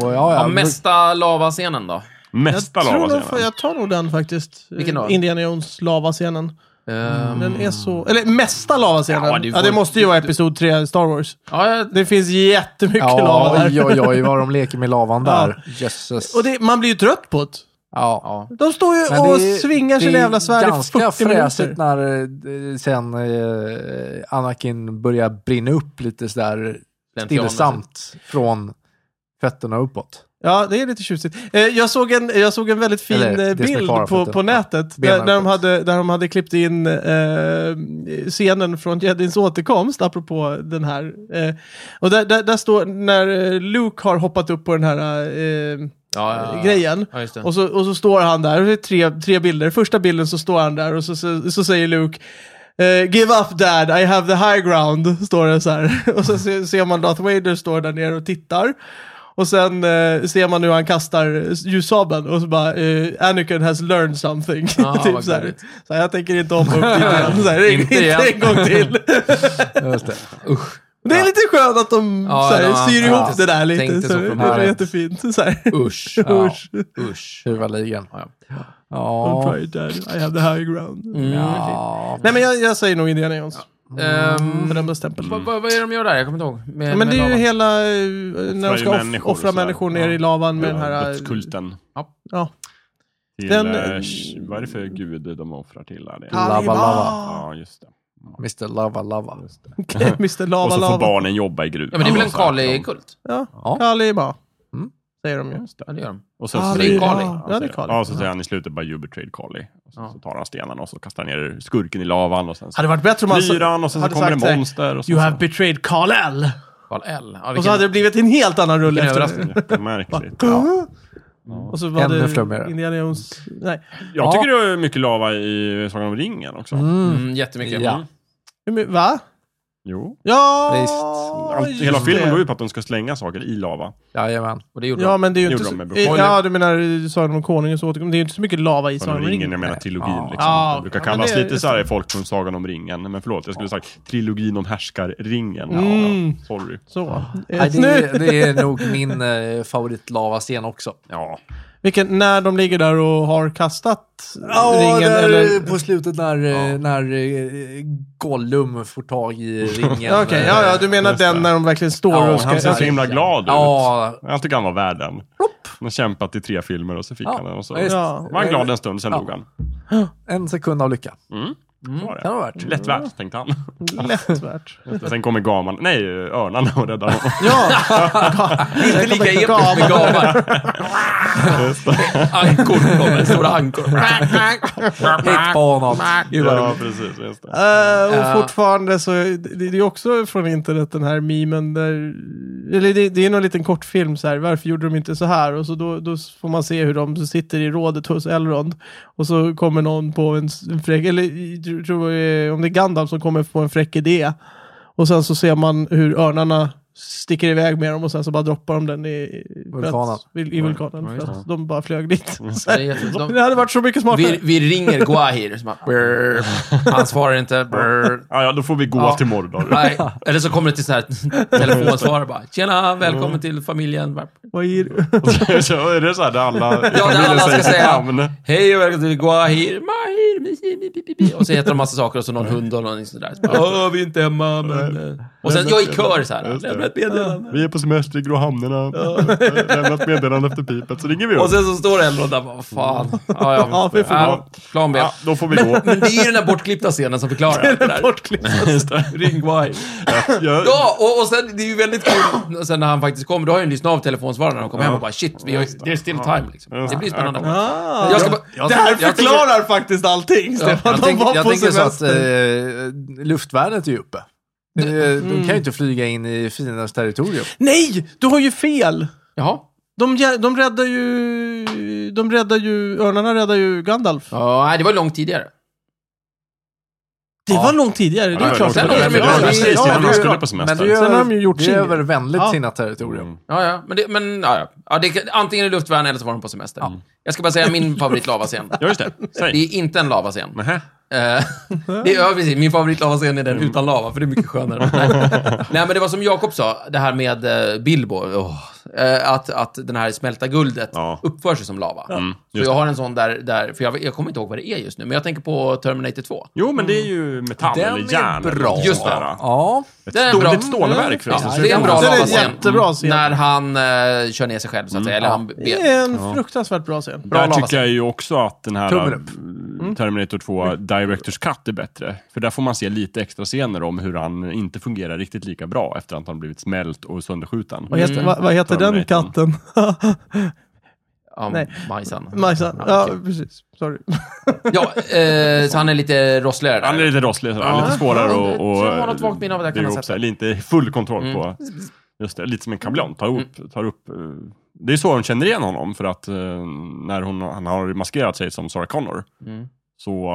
Speaker 4: Så, ja,
Speaker 2: Ja,
Speaker 4: ja.
Speaker 2: mesta lavascenen då?
Speaker 3: Mm. Mesta
Speaker 1: jag, tror
Speaker 3: lava
Speaker 1: nog,
Speaker 3: säger
Speaker 1: fa- jag tar nog den faktiskt.
Speaker 2: Vilken då?
Speaker 1: Eh, Indiana Jones lavascenen.
Speaker 4: Mm.
Speaker 2: Ehm,
Speaker 1: Den är så... Eller mesta lavascenen.
Speaker 2: Ja,
Speaker 1: Ja,
Speaker 2: du
Speaker 1: det,
Speaker 2: får-
Speaker 1: måste ju vara Episod 3 Star Wars.
Speaker 2: ja, jag-
Speaker 1: Det finns jättemycket lava
Speaker 4: Ja,
Speaker 1: där.
Speaker 4: oj, oj, oj, vad de leker med lavan
Speaker 1: *laughs* Ja.
Speaker 4: där.
Speaker 1: *laughs*
Speaker 4: Jösses.
Speaker 1: Och det, man blir ju trött på det.
Speaker 4: Ja.
Speaker 2: ja.
Speaker 1: De står ju
Speaker 4: Men
Speaker 1: och
Speaker 4: det är-
Speaker 1: svingar sina jävla svärd i
Speaker 4: ganska
Speaker 1: 40
Speaker 4: fräsigt
Speaker 1: minuter.
Speaker 4: när eh, sen eh, Anakin börjar brinna upp lite sådär stillsamt från fötterna uppåt.
Speaker 1: Ja, det är lite tjusigt. Eh, jag, såg en, jag såg en väldigt fin
Speaker 4: Eller,
Speaker 1: eh,
Speaker 4: det som är
Speaker 1: bild
Speaker 4: kvar av
Speaker 1: på,
Speaker 4: fötterna.
Speaker 1: på nätet.
Speaker 4: benen
Speaker 1: Där, där, de
Speaker 4: uppåt.
Speaker 1: hade, där de hade klippt in eh, scenen från Jedins återkomst, apropå den här. Eh, och där, där, där står, när eh, Luke har hoppat upp på den här eh,
Speaker 2: Ja, ja, ja.
Speaker 1: grejen.
Speaker 2: Ja, just det.
Speaker 1: Och så, och så står han där, och det är tre, tre bilder. Första bilden så står han där och så, så, så säger Luke eh, Give up dad, I have the high ground, står det så här. *laughs* Och så se- ser man Darth Vader står där nere och tittar. Och sen eh, ser man hur han kastar ljussabeln och så bara eh, Anakin has learned
Speaker 2: *laughs*
Speaker 1: something.
Speaker 2: Ah,
Speaker 1: *laughs* typ
Speaker 2: vad
Speaker 1: så här.
Speaker 2: gulligt.
Speaker 1: så här, jag tänker inte hoppa upp dit igen. Så här,
Speaker 2: *laughs* Inte
Speaker 1: inte
Speaker 2: igen.
Speaker 1: en gång
Speaker 2: *laughs*
Speaker 1: till.
Speaker 4: Just det.
Speaker 2: Usch,
Speaker 1: Det är lite skönt att de
Speaker 2: Ja,
Speaker 1: så här,
Speaker 2: de har-
Speaker 1: syr ihop
Speaker 2: ja,
Speaker 1: det där lite.
Speaker 2: tänkte
Speaker 1: Så,
Speaker 2: så
Speaker 1: det
Speaker 2: från
Speaker 1: var
Speaker 4: början.
Speaker 1: jättefint. Så här.
Speaker 2: usch,
Speaker 4: Ja.
Speaker 1: *laughs* Usch.
Speaker 2: usch.
Speaker 4: Tjurvaligan.
Speaker 2: Ja,
Speaker 1: I'm
Speaker 4: Ja.
Speaker 1: pride dad, I have the high ground.
Speaker 4: ja.
Speaker 1: Nej men jag, jag säger nog Indiana Jones.
Speaker 2: Ehm,
Speaker 1: Fördömdes tempel.
Speaker 2: vad-
Speaker 3: Mm.
Speaker 2: vad- vad är det de gör där? Jag kommer inte ihåg. Med,
Speaker 1: Men
Speaker 2: med
Speaker 1: det är ju
Speaker 2: lavan.
Speaker 1: hela, eh, när de
Speaker 3: ju
Speaker 1: ska off-
Speaker 3: människor och
Speaker 1: offra
Speaker 3: sådär.
Speaker 1: människor ner
Speaker 3: Ja.
Speaker 1: i lavan med den
Speaker 3: Ja,
Speaker 1: här... eh,
Speaker 3: Dödskulten.
Speaker 1: Ja. *laughs*
Speaker 3: Till,
Speaker 1: Den-
Speaker 3: den, vad är det för gud de offrar till? Där? Det?
Speaker 4: Lava, lava.
Speaker 3: Ja, just det.
Speaker 4: Mr Lava Lava.
Speaker 1: Mr
Speaker 3: Och
Speaker 1: Lava
Speaker 3: så får
Speaker 1: Lava.
Speaker 3: barnen jobba i gruvan.
Speaker 2: Ja, men det är väl en
Speaker 3: och så här. De-
Speaker 2: Kali-kult?
Speaker 1: Ja,
Speaker 4: Ja.
Speaker 1: Kali bara.
Speaker 4: Mm.
Speaker 1: Säger de ju.
Speaker 2: Ja, det gör de.
Speaker 3: Och sen
Speaker 1: Ah,
Speaker 3: så
Speaker 1: det är
Speaker 3: säger-
Speaker 2: Kali.
Speaker 3: Ja,
Speaker 1: Ja, det är
Speaker 3: säger-
Speaker 1: Kali.
Speaker 3: Ja, så säger han i slutet bara Ubertrade Kali. Och så,
Speaker 2: Ja.
Speaker 3: så tar han stenarna och så kastar han ner skurken i lavan och sen så
Speaker 1: Hade varit bättre om han
Speaker 3: flyr han och sen så
Speaker 1: hade
Speaker 3: kommer
Speaker 1: sagt så
Speaker 3: det
Speaker 1: här,
Speaker 3: monster. Och så,
Speaker 1: You have betrayed Karl L.
Speaker 2: Karl L. Ja,
Speaker 1: Och så
Speaker 2: vilken-
Speaker 1: hade det blivit en helt annan rulle
Speaker 2: Vilken
Speaker 1: efter
Speaker 2: överraskning.
Speaker 1: det.
Speaker 3: Jättemärkligt.
Speaker 1: *laughs* Ja. Och så var
Speaker 4: Ännu
Speaker 1: det
Speaker 4: flummigare.
Speaker 1: Indiana Jones... Nej.
Speaker 3: Jag tycker det är mycket lava i Sagan om ringen också.
Speaker 2: Mm, jättemycket.
Speaker 4: Ja.
Speaker 2: Mm.
Speaker 1: Hur my- Va?
Speaker 3: Jo.
Speaker 1: Ja!
Speaker 4: Visst.
Speaker 3: Allt,
Speaker 1: just
Speaker 3: hela filmen
Speaker 1: det.
Speaker 3: går ju på att de ska slänga saker i lava.
Speaker 4: Jajamän.
Speaker 2: Och det gjorde
Speaker 1: Ja,
Speaker 2: de.
Speaker 1: men det är ju
Speaker 3: Det
Speaker 1: inte
Speaker 3: gjorde
Speaker 1: så...
Speaker 3: de med Brokoli.
Speaker 1: Ja, du menar Sagan om Konungens återkomst. Det är ju inte så mycket lava i
Speaker 3: Sagan om ringen, jag menar trilogin.
Speaker 4: Ja.
Speaker 3: Liksom.
Speaker 1: Ja,
Speaker 3: det brukar
Speaker 1: ja,
Speaker 3: kallas
Speaker 1: men det-
Speaker 3: lite så här i folkmun, Sagan om ringen. Men förlåt, jag skulle sagt trilogin om härskarringen. Ja,
Speaker 1: Mm.
Speaker 3: ja, sorry.
Speaker 1: Så.
Speaker 4: Nej, det,
Speaker 1: Nu.
Speaker 4: är, det är nog min eh, favoritlavascen också.
Speaker 3: Ja,
Speaker 1: Vilken, när de ligger där och har kastat
Speaker 4: Ja,
Speaker 1: ringen?
Speaker 4: där,
Speaker 1: eller?
Speaker 4: på slutet när, eh, när eh, Gollum får tag i *laughs* ringen.
Speaker 1: Ja, Okej, ja, ja, du menar
Speaker 3: Just
Speaker 1: den
Speaker 3: det.
Speaker 1: när de verkligen står
Speaker 4: Ja,
Speaker 1: och ska...
Speaker 3: han ser så
Speaker 1: okej.
Speaker 3: himla glad ut.
Speaker 4: Ja,
Speaker 3: Jag tycker han var värd den. Han har kämpat i tre filmer och så fick
Speaker 4: Ja,
Speaker 3: han den. Och så
Speaker 4: visst.
Speaker 1: Ja.
Speaker 3: var han glad en stund, sen
Speaker 4: Ja.
Speaker 3: dog han.
Speaker 4: en sekund av lycka.
Speaker 3: Mm. Bra det.
Speaker 4: Kan det ha varit.
Speaker 3: Lätt värt, tänkte han.
Speaker 1: Lätt värt.
Speaker 3: Sen kommer gaman, nej, örnarna och räddar honom.
Speaker 2: Inte lika episkt med gamar. Ankor kommer,
Speaker 1: *laughs*
Speaker 2: stora ankor.
Speaker 4: Hit på honom.
Speaker 2: Gud vad roligt.
Speaker 3: Ja, precis. Just det.
Speaker 1: Eh, och
Speaker 2: Ja.
Speaker 1: fortfarande så, det, det är ju också från internet den här memen där, eller det, det är någon liten kortfilm så här, varför gjorde de inte så här? Och så då, då får man se hur de sitter i rådet hos Elrond. Och så kommer någon på en, s- en fräck, eller jag tror, eh, om det är Gandalf som kommer på en fräck idé. Och sen så ser man hur örnarna sticker iväg med dem och sen så bara droppar de den i- i för att-
Speaker 4: Vulkanen.
Speaker 1: I vulkanen. För att de bara flög dit. Så
Speaker 2: Det
Speaker 1: här,
Speaker 2: är jätte- de-
Speaker 1: *laughs* det hade varit så mycket smartare.
Speaker 2: *laughs* Vi, vi ringer Guahir. som bara, brr. Han svarar inte. brr.
Speaker 3: Ja, ja, då får vi gå
Speaker 2: Ja. *laughs*
Speaker 3: till Mordor.
Speaker 2: Nej. Eller så kommer det till så här *laughs* telefonsvar bara. Tjena, välkommen till familjen. Bara,
Speaker 1: Vad är
Speaker 2: *laughs*
Speaker 1: det?
Speaker 3: så är det så här där alla i
Speaker 2: Ja, det
Speaker 3: familjen
Speaker 2: alla
Speaker 3: säger
Speaker 2: ska
Speaker 3: sitt
Speaker 2: säga.
Speaker 3: namn.
Speaker 2: Hej och välkommen till Guahir. Mahir. mi, si, mi, bi, bi, bi." Och så heter de massa saker och så någon hund och någon sådär. Så bara, "Åh, vi är inte hemma, men... eh." Och sen jag i kör så här.
Speaker 3: Just det.
Speaker 2: Lämna ett meddelande.
Speaker 3: Vi är på semester i Grå hamnarna. Lämnat meddelande efter pipet, så ringer vi
Speaker 2: Och
Speaker 3: upp.
Speaker 2: sen så står Elrond där bara, vad fan. Ja, ja.
Speaker 1: Ja, vi får gå.
Speaker 2: plan B.
Speaker 3: Ja, då får vi gå.
Speaker 2: Men det är ju den där bortklippta scenen som förklarar allt det där.
Speaker 3: Just det.
Speaker 2: Ring Guahir.
Speaker 3: Ja,
Speaker 2: Ja, och, och sen, det är ju väldigt kul *coughs* sen när han faktiskt kommer. Då har jag ju lyssnat av telefonsvararen när han kommer hem och bara shit, vi har, there's still time liksom. Det blir spännande.
Speaker 1: Ah.
Speaker 2: Jag ska bara,
Speaker 4: Jag
Speaker 1: det här
Speaker 4: tänker- jag
Speaker 1: förklarar faktiskt allting, Stefan.
Speaker 4: Jag
Speaker 1: De
Speaker 4: tänker,
Speaker 1: var
Speaker 4: jag
Speaker 1: på
Speaker 4: tänker så att
Speaker 1: semester.
Speaker 4: eh, luftvärnet är ju uppe. Eh, De kan ju inte flyga in i fiendens territorium.
Speaker 1: Nej! Du har ju fel!
Speaker 2: jaha.
Speaker 1: De, jä- de räddar ju... De räddar ju... Örnarna räddar ju Gandalf.
Speaker 2: Ja, nej, det var långt tidigare.
Speaker 1: Det var långt tidigare. Det
Speaker 3: det
Speaker 1: är
Speaker 3: var
Speaker 1: klart.
Speaker 3: långt
Speaker 1: Sen
Speaker 2: tidigare.
Speaker 1: har de
Speaker 2: Men det var
Speaker 1: ju-
Speaker 2: precis
Speaker 1: Ja,
Speaker 3: innan
Speaker 1: det-
Speaker 3: han skulle på semester.
Speaker 4: Men det är,
Speaker 1: Sen har de ju gjort
Speaker 4: det
Speaker 1: sin
Speaker 4: är
Speaker 1: grej.
Speaker 4: övervänligt
Speaker 1: Ja.
Speaker 4: sina
Speaker 3: Mm.
Speaker 4: territorium.
Speaker 2: Ja, ja. Men, det, men ja, ja. ja det, kan- antingen är det luftvärn eller så var de på semester. Jag ska bara säga min favoritlavascen.
Speaker 3: Ja, just det.
Speaker 2: Det
Speaker 3: Säg.
Speaker 2: är inte en lavascen.
Speaker 3: Nähä.
Speaker 2: Eh, *laughs* det är, ja, precis. Min favoritlavascen är den utan lava, för det är mycket skönare. Nej, Nej men det var som Jakob sa, det här med eh, Bilbo. åh. Eh, att, att den här smälta guldet
Speaker 3: Ja.
Speaker 2: uppför sig som lava. så
Speaker 3: just
Speaker 2: jag har en sån där, där för jag, jag kommer inte ihåg vad det är just nu, men jag tänker på Terminator 2.
Speaker 3: Jo, men det är ju metall
Speaker 4: Den
Speaker 3: eller
Speaker 4: är
Speaker 3: järn. eller
Speaker 4: bra.
Speaker 3: något
Speaker 2: Just
Speaker 3: sånt där.
Speaker 2: det.
Speaker 4: Ja.
Speaker 3: Ett
Speaker 2: Det är en
Speaker 3: stål-
Speaker 2: bra- Mm.
Speaker 3: ett stålverk förresten.
Speaker 2: Ja, det är en bra
Speaker 1: Den är
Speaker 2: lavascen. Mm.
Speaker 1: jättebra scen.
Speaker 2: När han eh, kör ner sig själv, så att säga. Eller han...
Speaker 1: Det är en fruktansvärt bra scen.
Speaker 2: Bra
Speaker 3: Där
Speaker 2: lavascen.
Speaker 3: tycker jag ju också att den här
Speaker 4: Tummen upp.
Speaker 3: mm, Terminator 2 Directors Cut är bättre. För där får man se lite extra scener om hur han inte fungerar riktigt lika bra efter att han blivit smält och sönderskjuten.
Speaker 1: Vad heter, vad, vad heter den
Speaker 3: Terminator.
Speaker 1: katten? *laughs*
Speaker 2: Ja,
Speaker 1: Nej.
Speaker 2: Majsan.
Speaker 1: Majsan.
Speaker 2: Ja,
Speaker 1: Ja,
Speaker 2: okej.
Speaker 1: precis. Sorry.
Speaker 2: ja eh, så han är lite rossligare där.
Speaker 3: Han är lite rosslig, så han är lite svårare
Speaker 2: Ja, det-
Speaker 3: och... och
Speaker 2: jag har något vagt minne av det, jag kan
Speaker 3: bygga
Speaker 2: ha sett
Speaker 3: upp så här, Inte full kontroll
Speaker 2: Mm.
Speaker 3: på... Just det, lite som en kameleon. Tar upp, tar upp, eh, det är så hon känner igen honom, för att eh, när hon, han har maskerat sig som Sarah Connor,
Speaker 2: Mm.
Speaker 3: så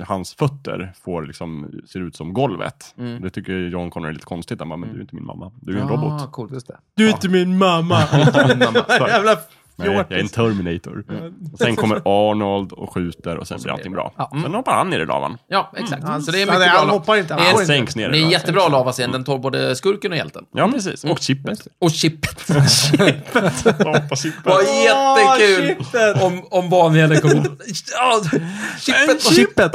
Speaker 3: eh, hans fötter får liksom, ser ut som golvet.
Speaker 2: Mm.
Speaker 3: Det tycker John Connor är lite konstigt. Han bara, men du är inte min mamma. Du är en
Speaker 2: Ah,
Speaker 3: robot.
Speaker 2: coolt.
Speaker 4: Just det.
Speaker 1: Du är inte min mamma. *laughs* Jävla
Speaker 3: Nej, jag är en
Speaker 1: fjortis.
Speaker 3: Terminator. Och sen kommer Arnold och skjuter och sen blir allting bra.
Speaker 2: mm.
Speaker 3: Sen hoppar han ner i lavan.
Speaker 2: Ja, exakt. Så det är
Speaker 1: Han,
Speaker 2: mycket
Speaker 1: han
Speaker 2: bra.
Speaker 1: hoppar inte.
Speaker 2: Det är
Speaker 1: Han
Speaker 2: en
Speaker 1: går inte.
Speaker 3: Sänks ner i
Speaker 2: Det är en
Speaker 3: lavan.
Speaker 2: jättebra lavascen. Den tar både skurken och hjälten.
Speaker 3: Ja, precis. Och chippet.
Speaker 2: *laughs* Och chippet.
Speaker 3: Hoppa
Speaker 2: Vad
Speaker 3: chippet.
Speaker 2: jättekul!
Speaker 1: Åh, chippet!
Speaker 2: Om, om Vanheden kommer ut. Ja, Chippet och chippet.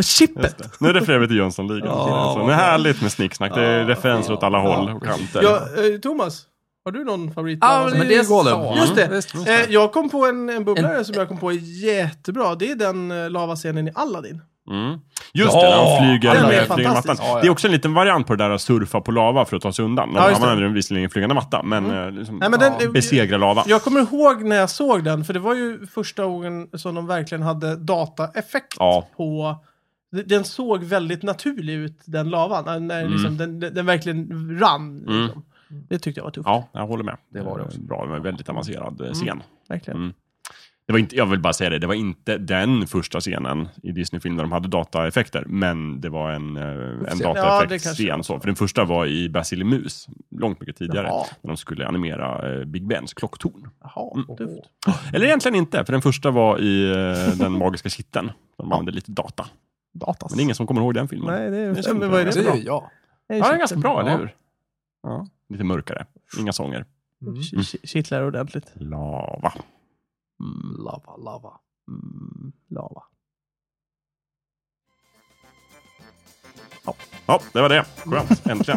Speaker 1: Chippet! Chippet!
Speaker 3: Nu refererar vi till Jönssonligan. Så det är härligt med snicksnack. Det är referenser åt alla håll och kanter.
Speaker 1: Ja, eh, Thomas, har du någon favorit?
Speaker 4: Ja, men
Speaker 2: men
Speaker 4: det
Speaker 2: det
Speaker 4: är Golem.
Speaker 2: sa-
Speaker 1: Just det.
Speaker 3: Mm.
Speaker 4: Visst.
Speaker 1: Eh, jag kom på en, en bubblare som jag kom på är jättebra. Det är den eh, lavascenen i Aladdin.
Speaker 3: Mm. Just
Speaker 2: Ja,
Speaker 3: det, när han flyger,
Speaker 1: den är
Speaker 3: flyger
Speaker 1: fantastisk.
Speaker 3: i mattan.
Speaker 1: Ja,
Speaker 3: Det är också en liten variant på det där att surfa på lava för att ta sig undan.
Speaker 1: Ja,
Speaker 3: Man
Speaker 1: just det. Mm.
Speaker 3: använder den visserligen i en flygande matta, men, eh, liksom,
Speaker 1: Nej, men den,
Speaker 3: besegra lava.
Speaker 1: jag kommer ihåg när jag såg den, för det var ju första gången som de verkligen hade dataeffekt
Speaker 3: Ja.
Speaker 1: på... d- Den såg väldigt naturlig ut, den lavan. Eh, När,
Speaker 3: Mm.
Speaker 1: liksom, den, den den verkligen rann. Liksom. Det tyckte jag var tufft.
Speaker 3: Ja, jag håller med. Eh,
Speaker 2: Det var det också.
Speaker 3: Bra, det var en väldigt avancerad eh, scen.
Speaker 1: Verkligen.
Speaker 3: Mm. Det var inte, jag vill bara säga det, det var inte den första scenen i Disney-film där de hade dataeffekter, men det var en, eh, en dataeffektscen.
Speaker 1: kanske
Speaker 3: så, för den första var i Basilimus, långt mycket tidigare,
Speaker 1: Jaha.
Speaker 3: när de skulle animera eh, Big Bens klocktorn.
Speaker 1: Jaha,
Speaker 3: Mm.
Speaker 1: tufft.
Speaker 3: Eller egentligen inte, för den första var i eh, Den magiska kitteln, där de använde lite data.
Speaker 1: Datas.
Speaker 3: Men det är ingen som kommer ihåg den filmen.
Speaker 1: Nej, det är,
Speaker 3: Det är
Speaker 1: men vad är det
Speaker 4: Det
Speaker 1: för
Speaker 4: är ju
Speaker 1: något?
Speaker 4: jag.
Speaker 3: Ja, den är ganska bra, eller
Speaker 4: Ja.
Speaker 3: hur? Ja, lite mörkare. Inga sånger. Mm.
Speaker 1: K- k- Kittlar ordentligt.
Speaker 3: Lava.
Speaker 4: Lava, lava.
Speaker 1: Mm, lava.
Speaker 3: Ja, det var det. *laughs* Skönt. Äntligen.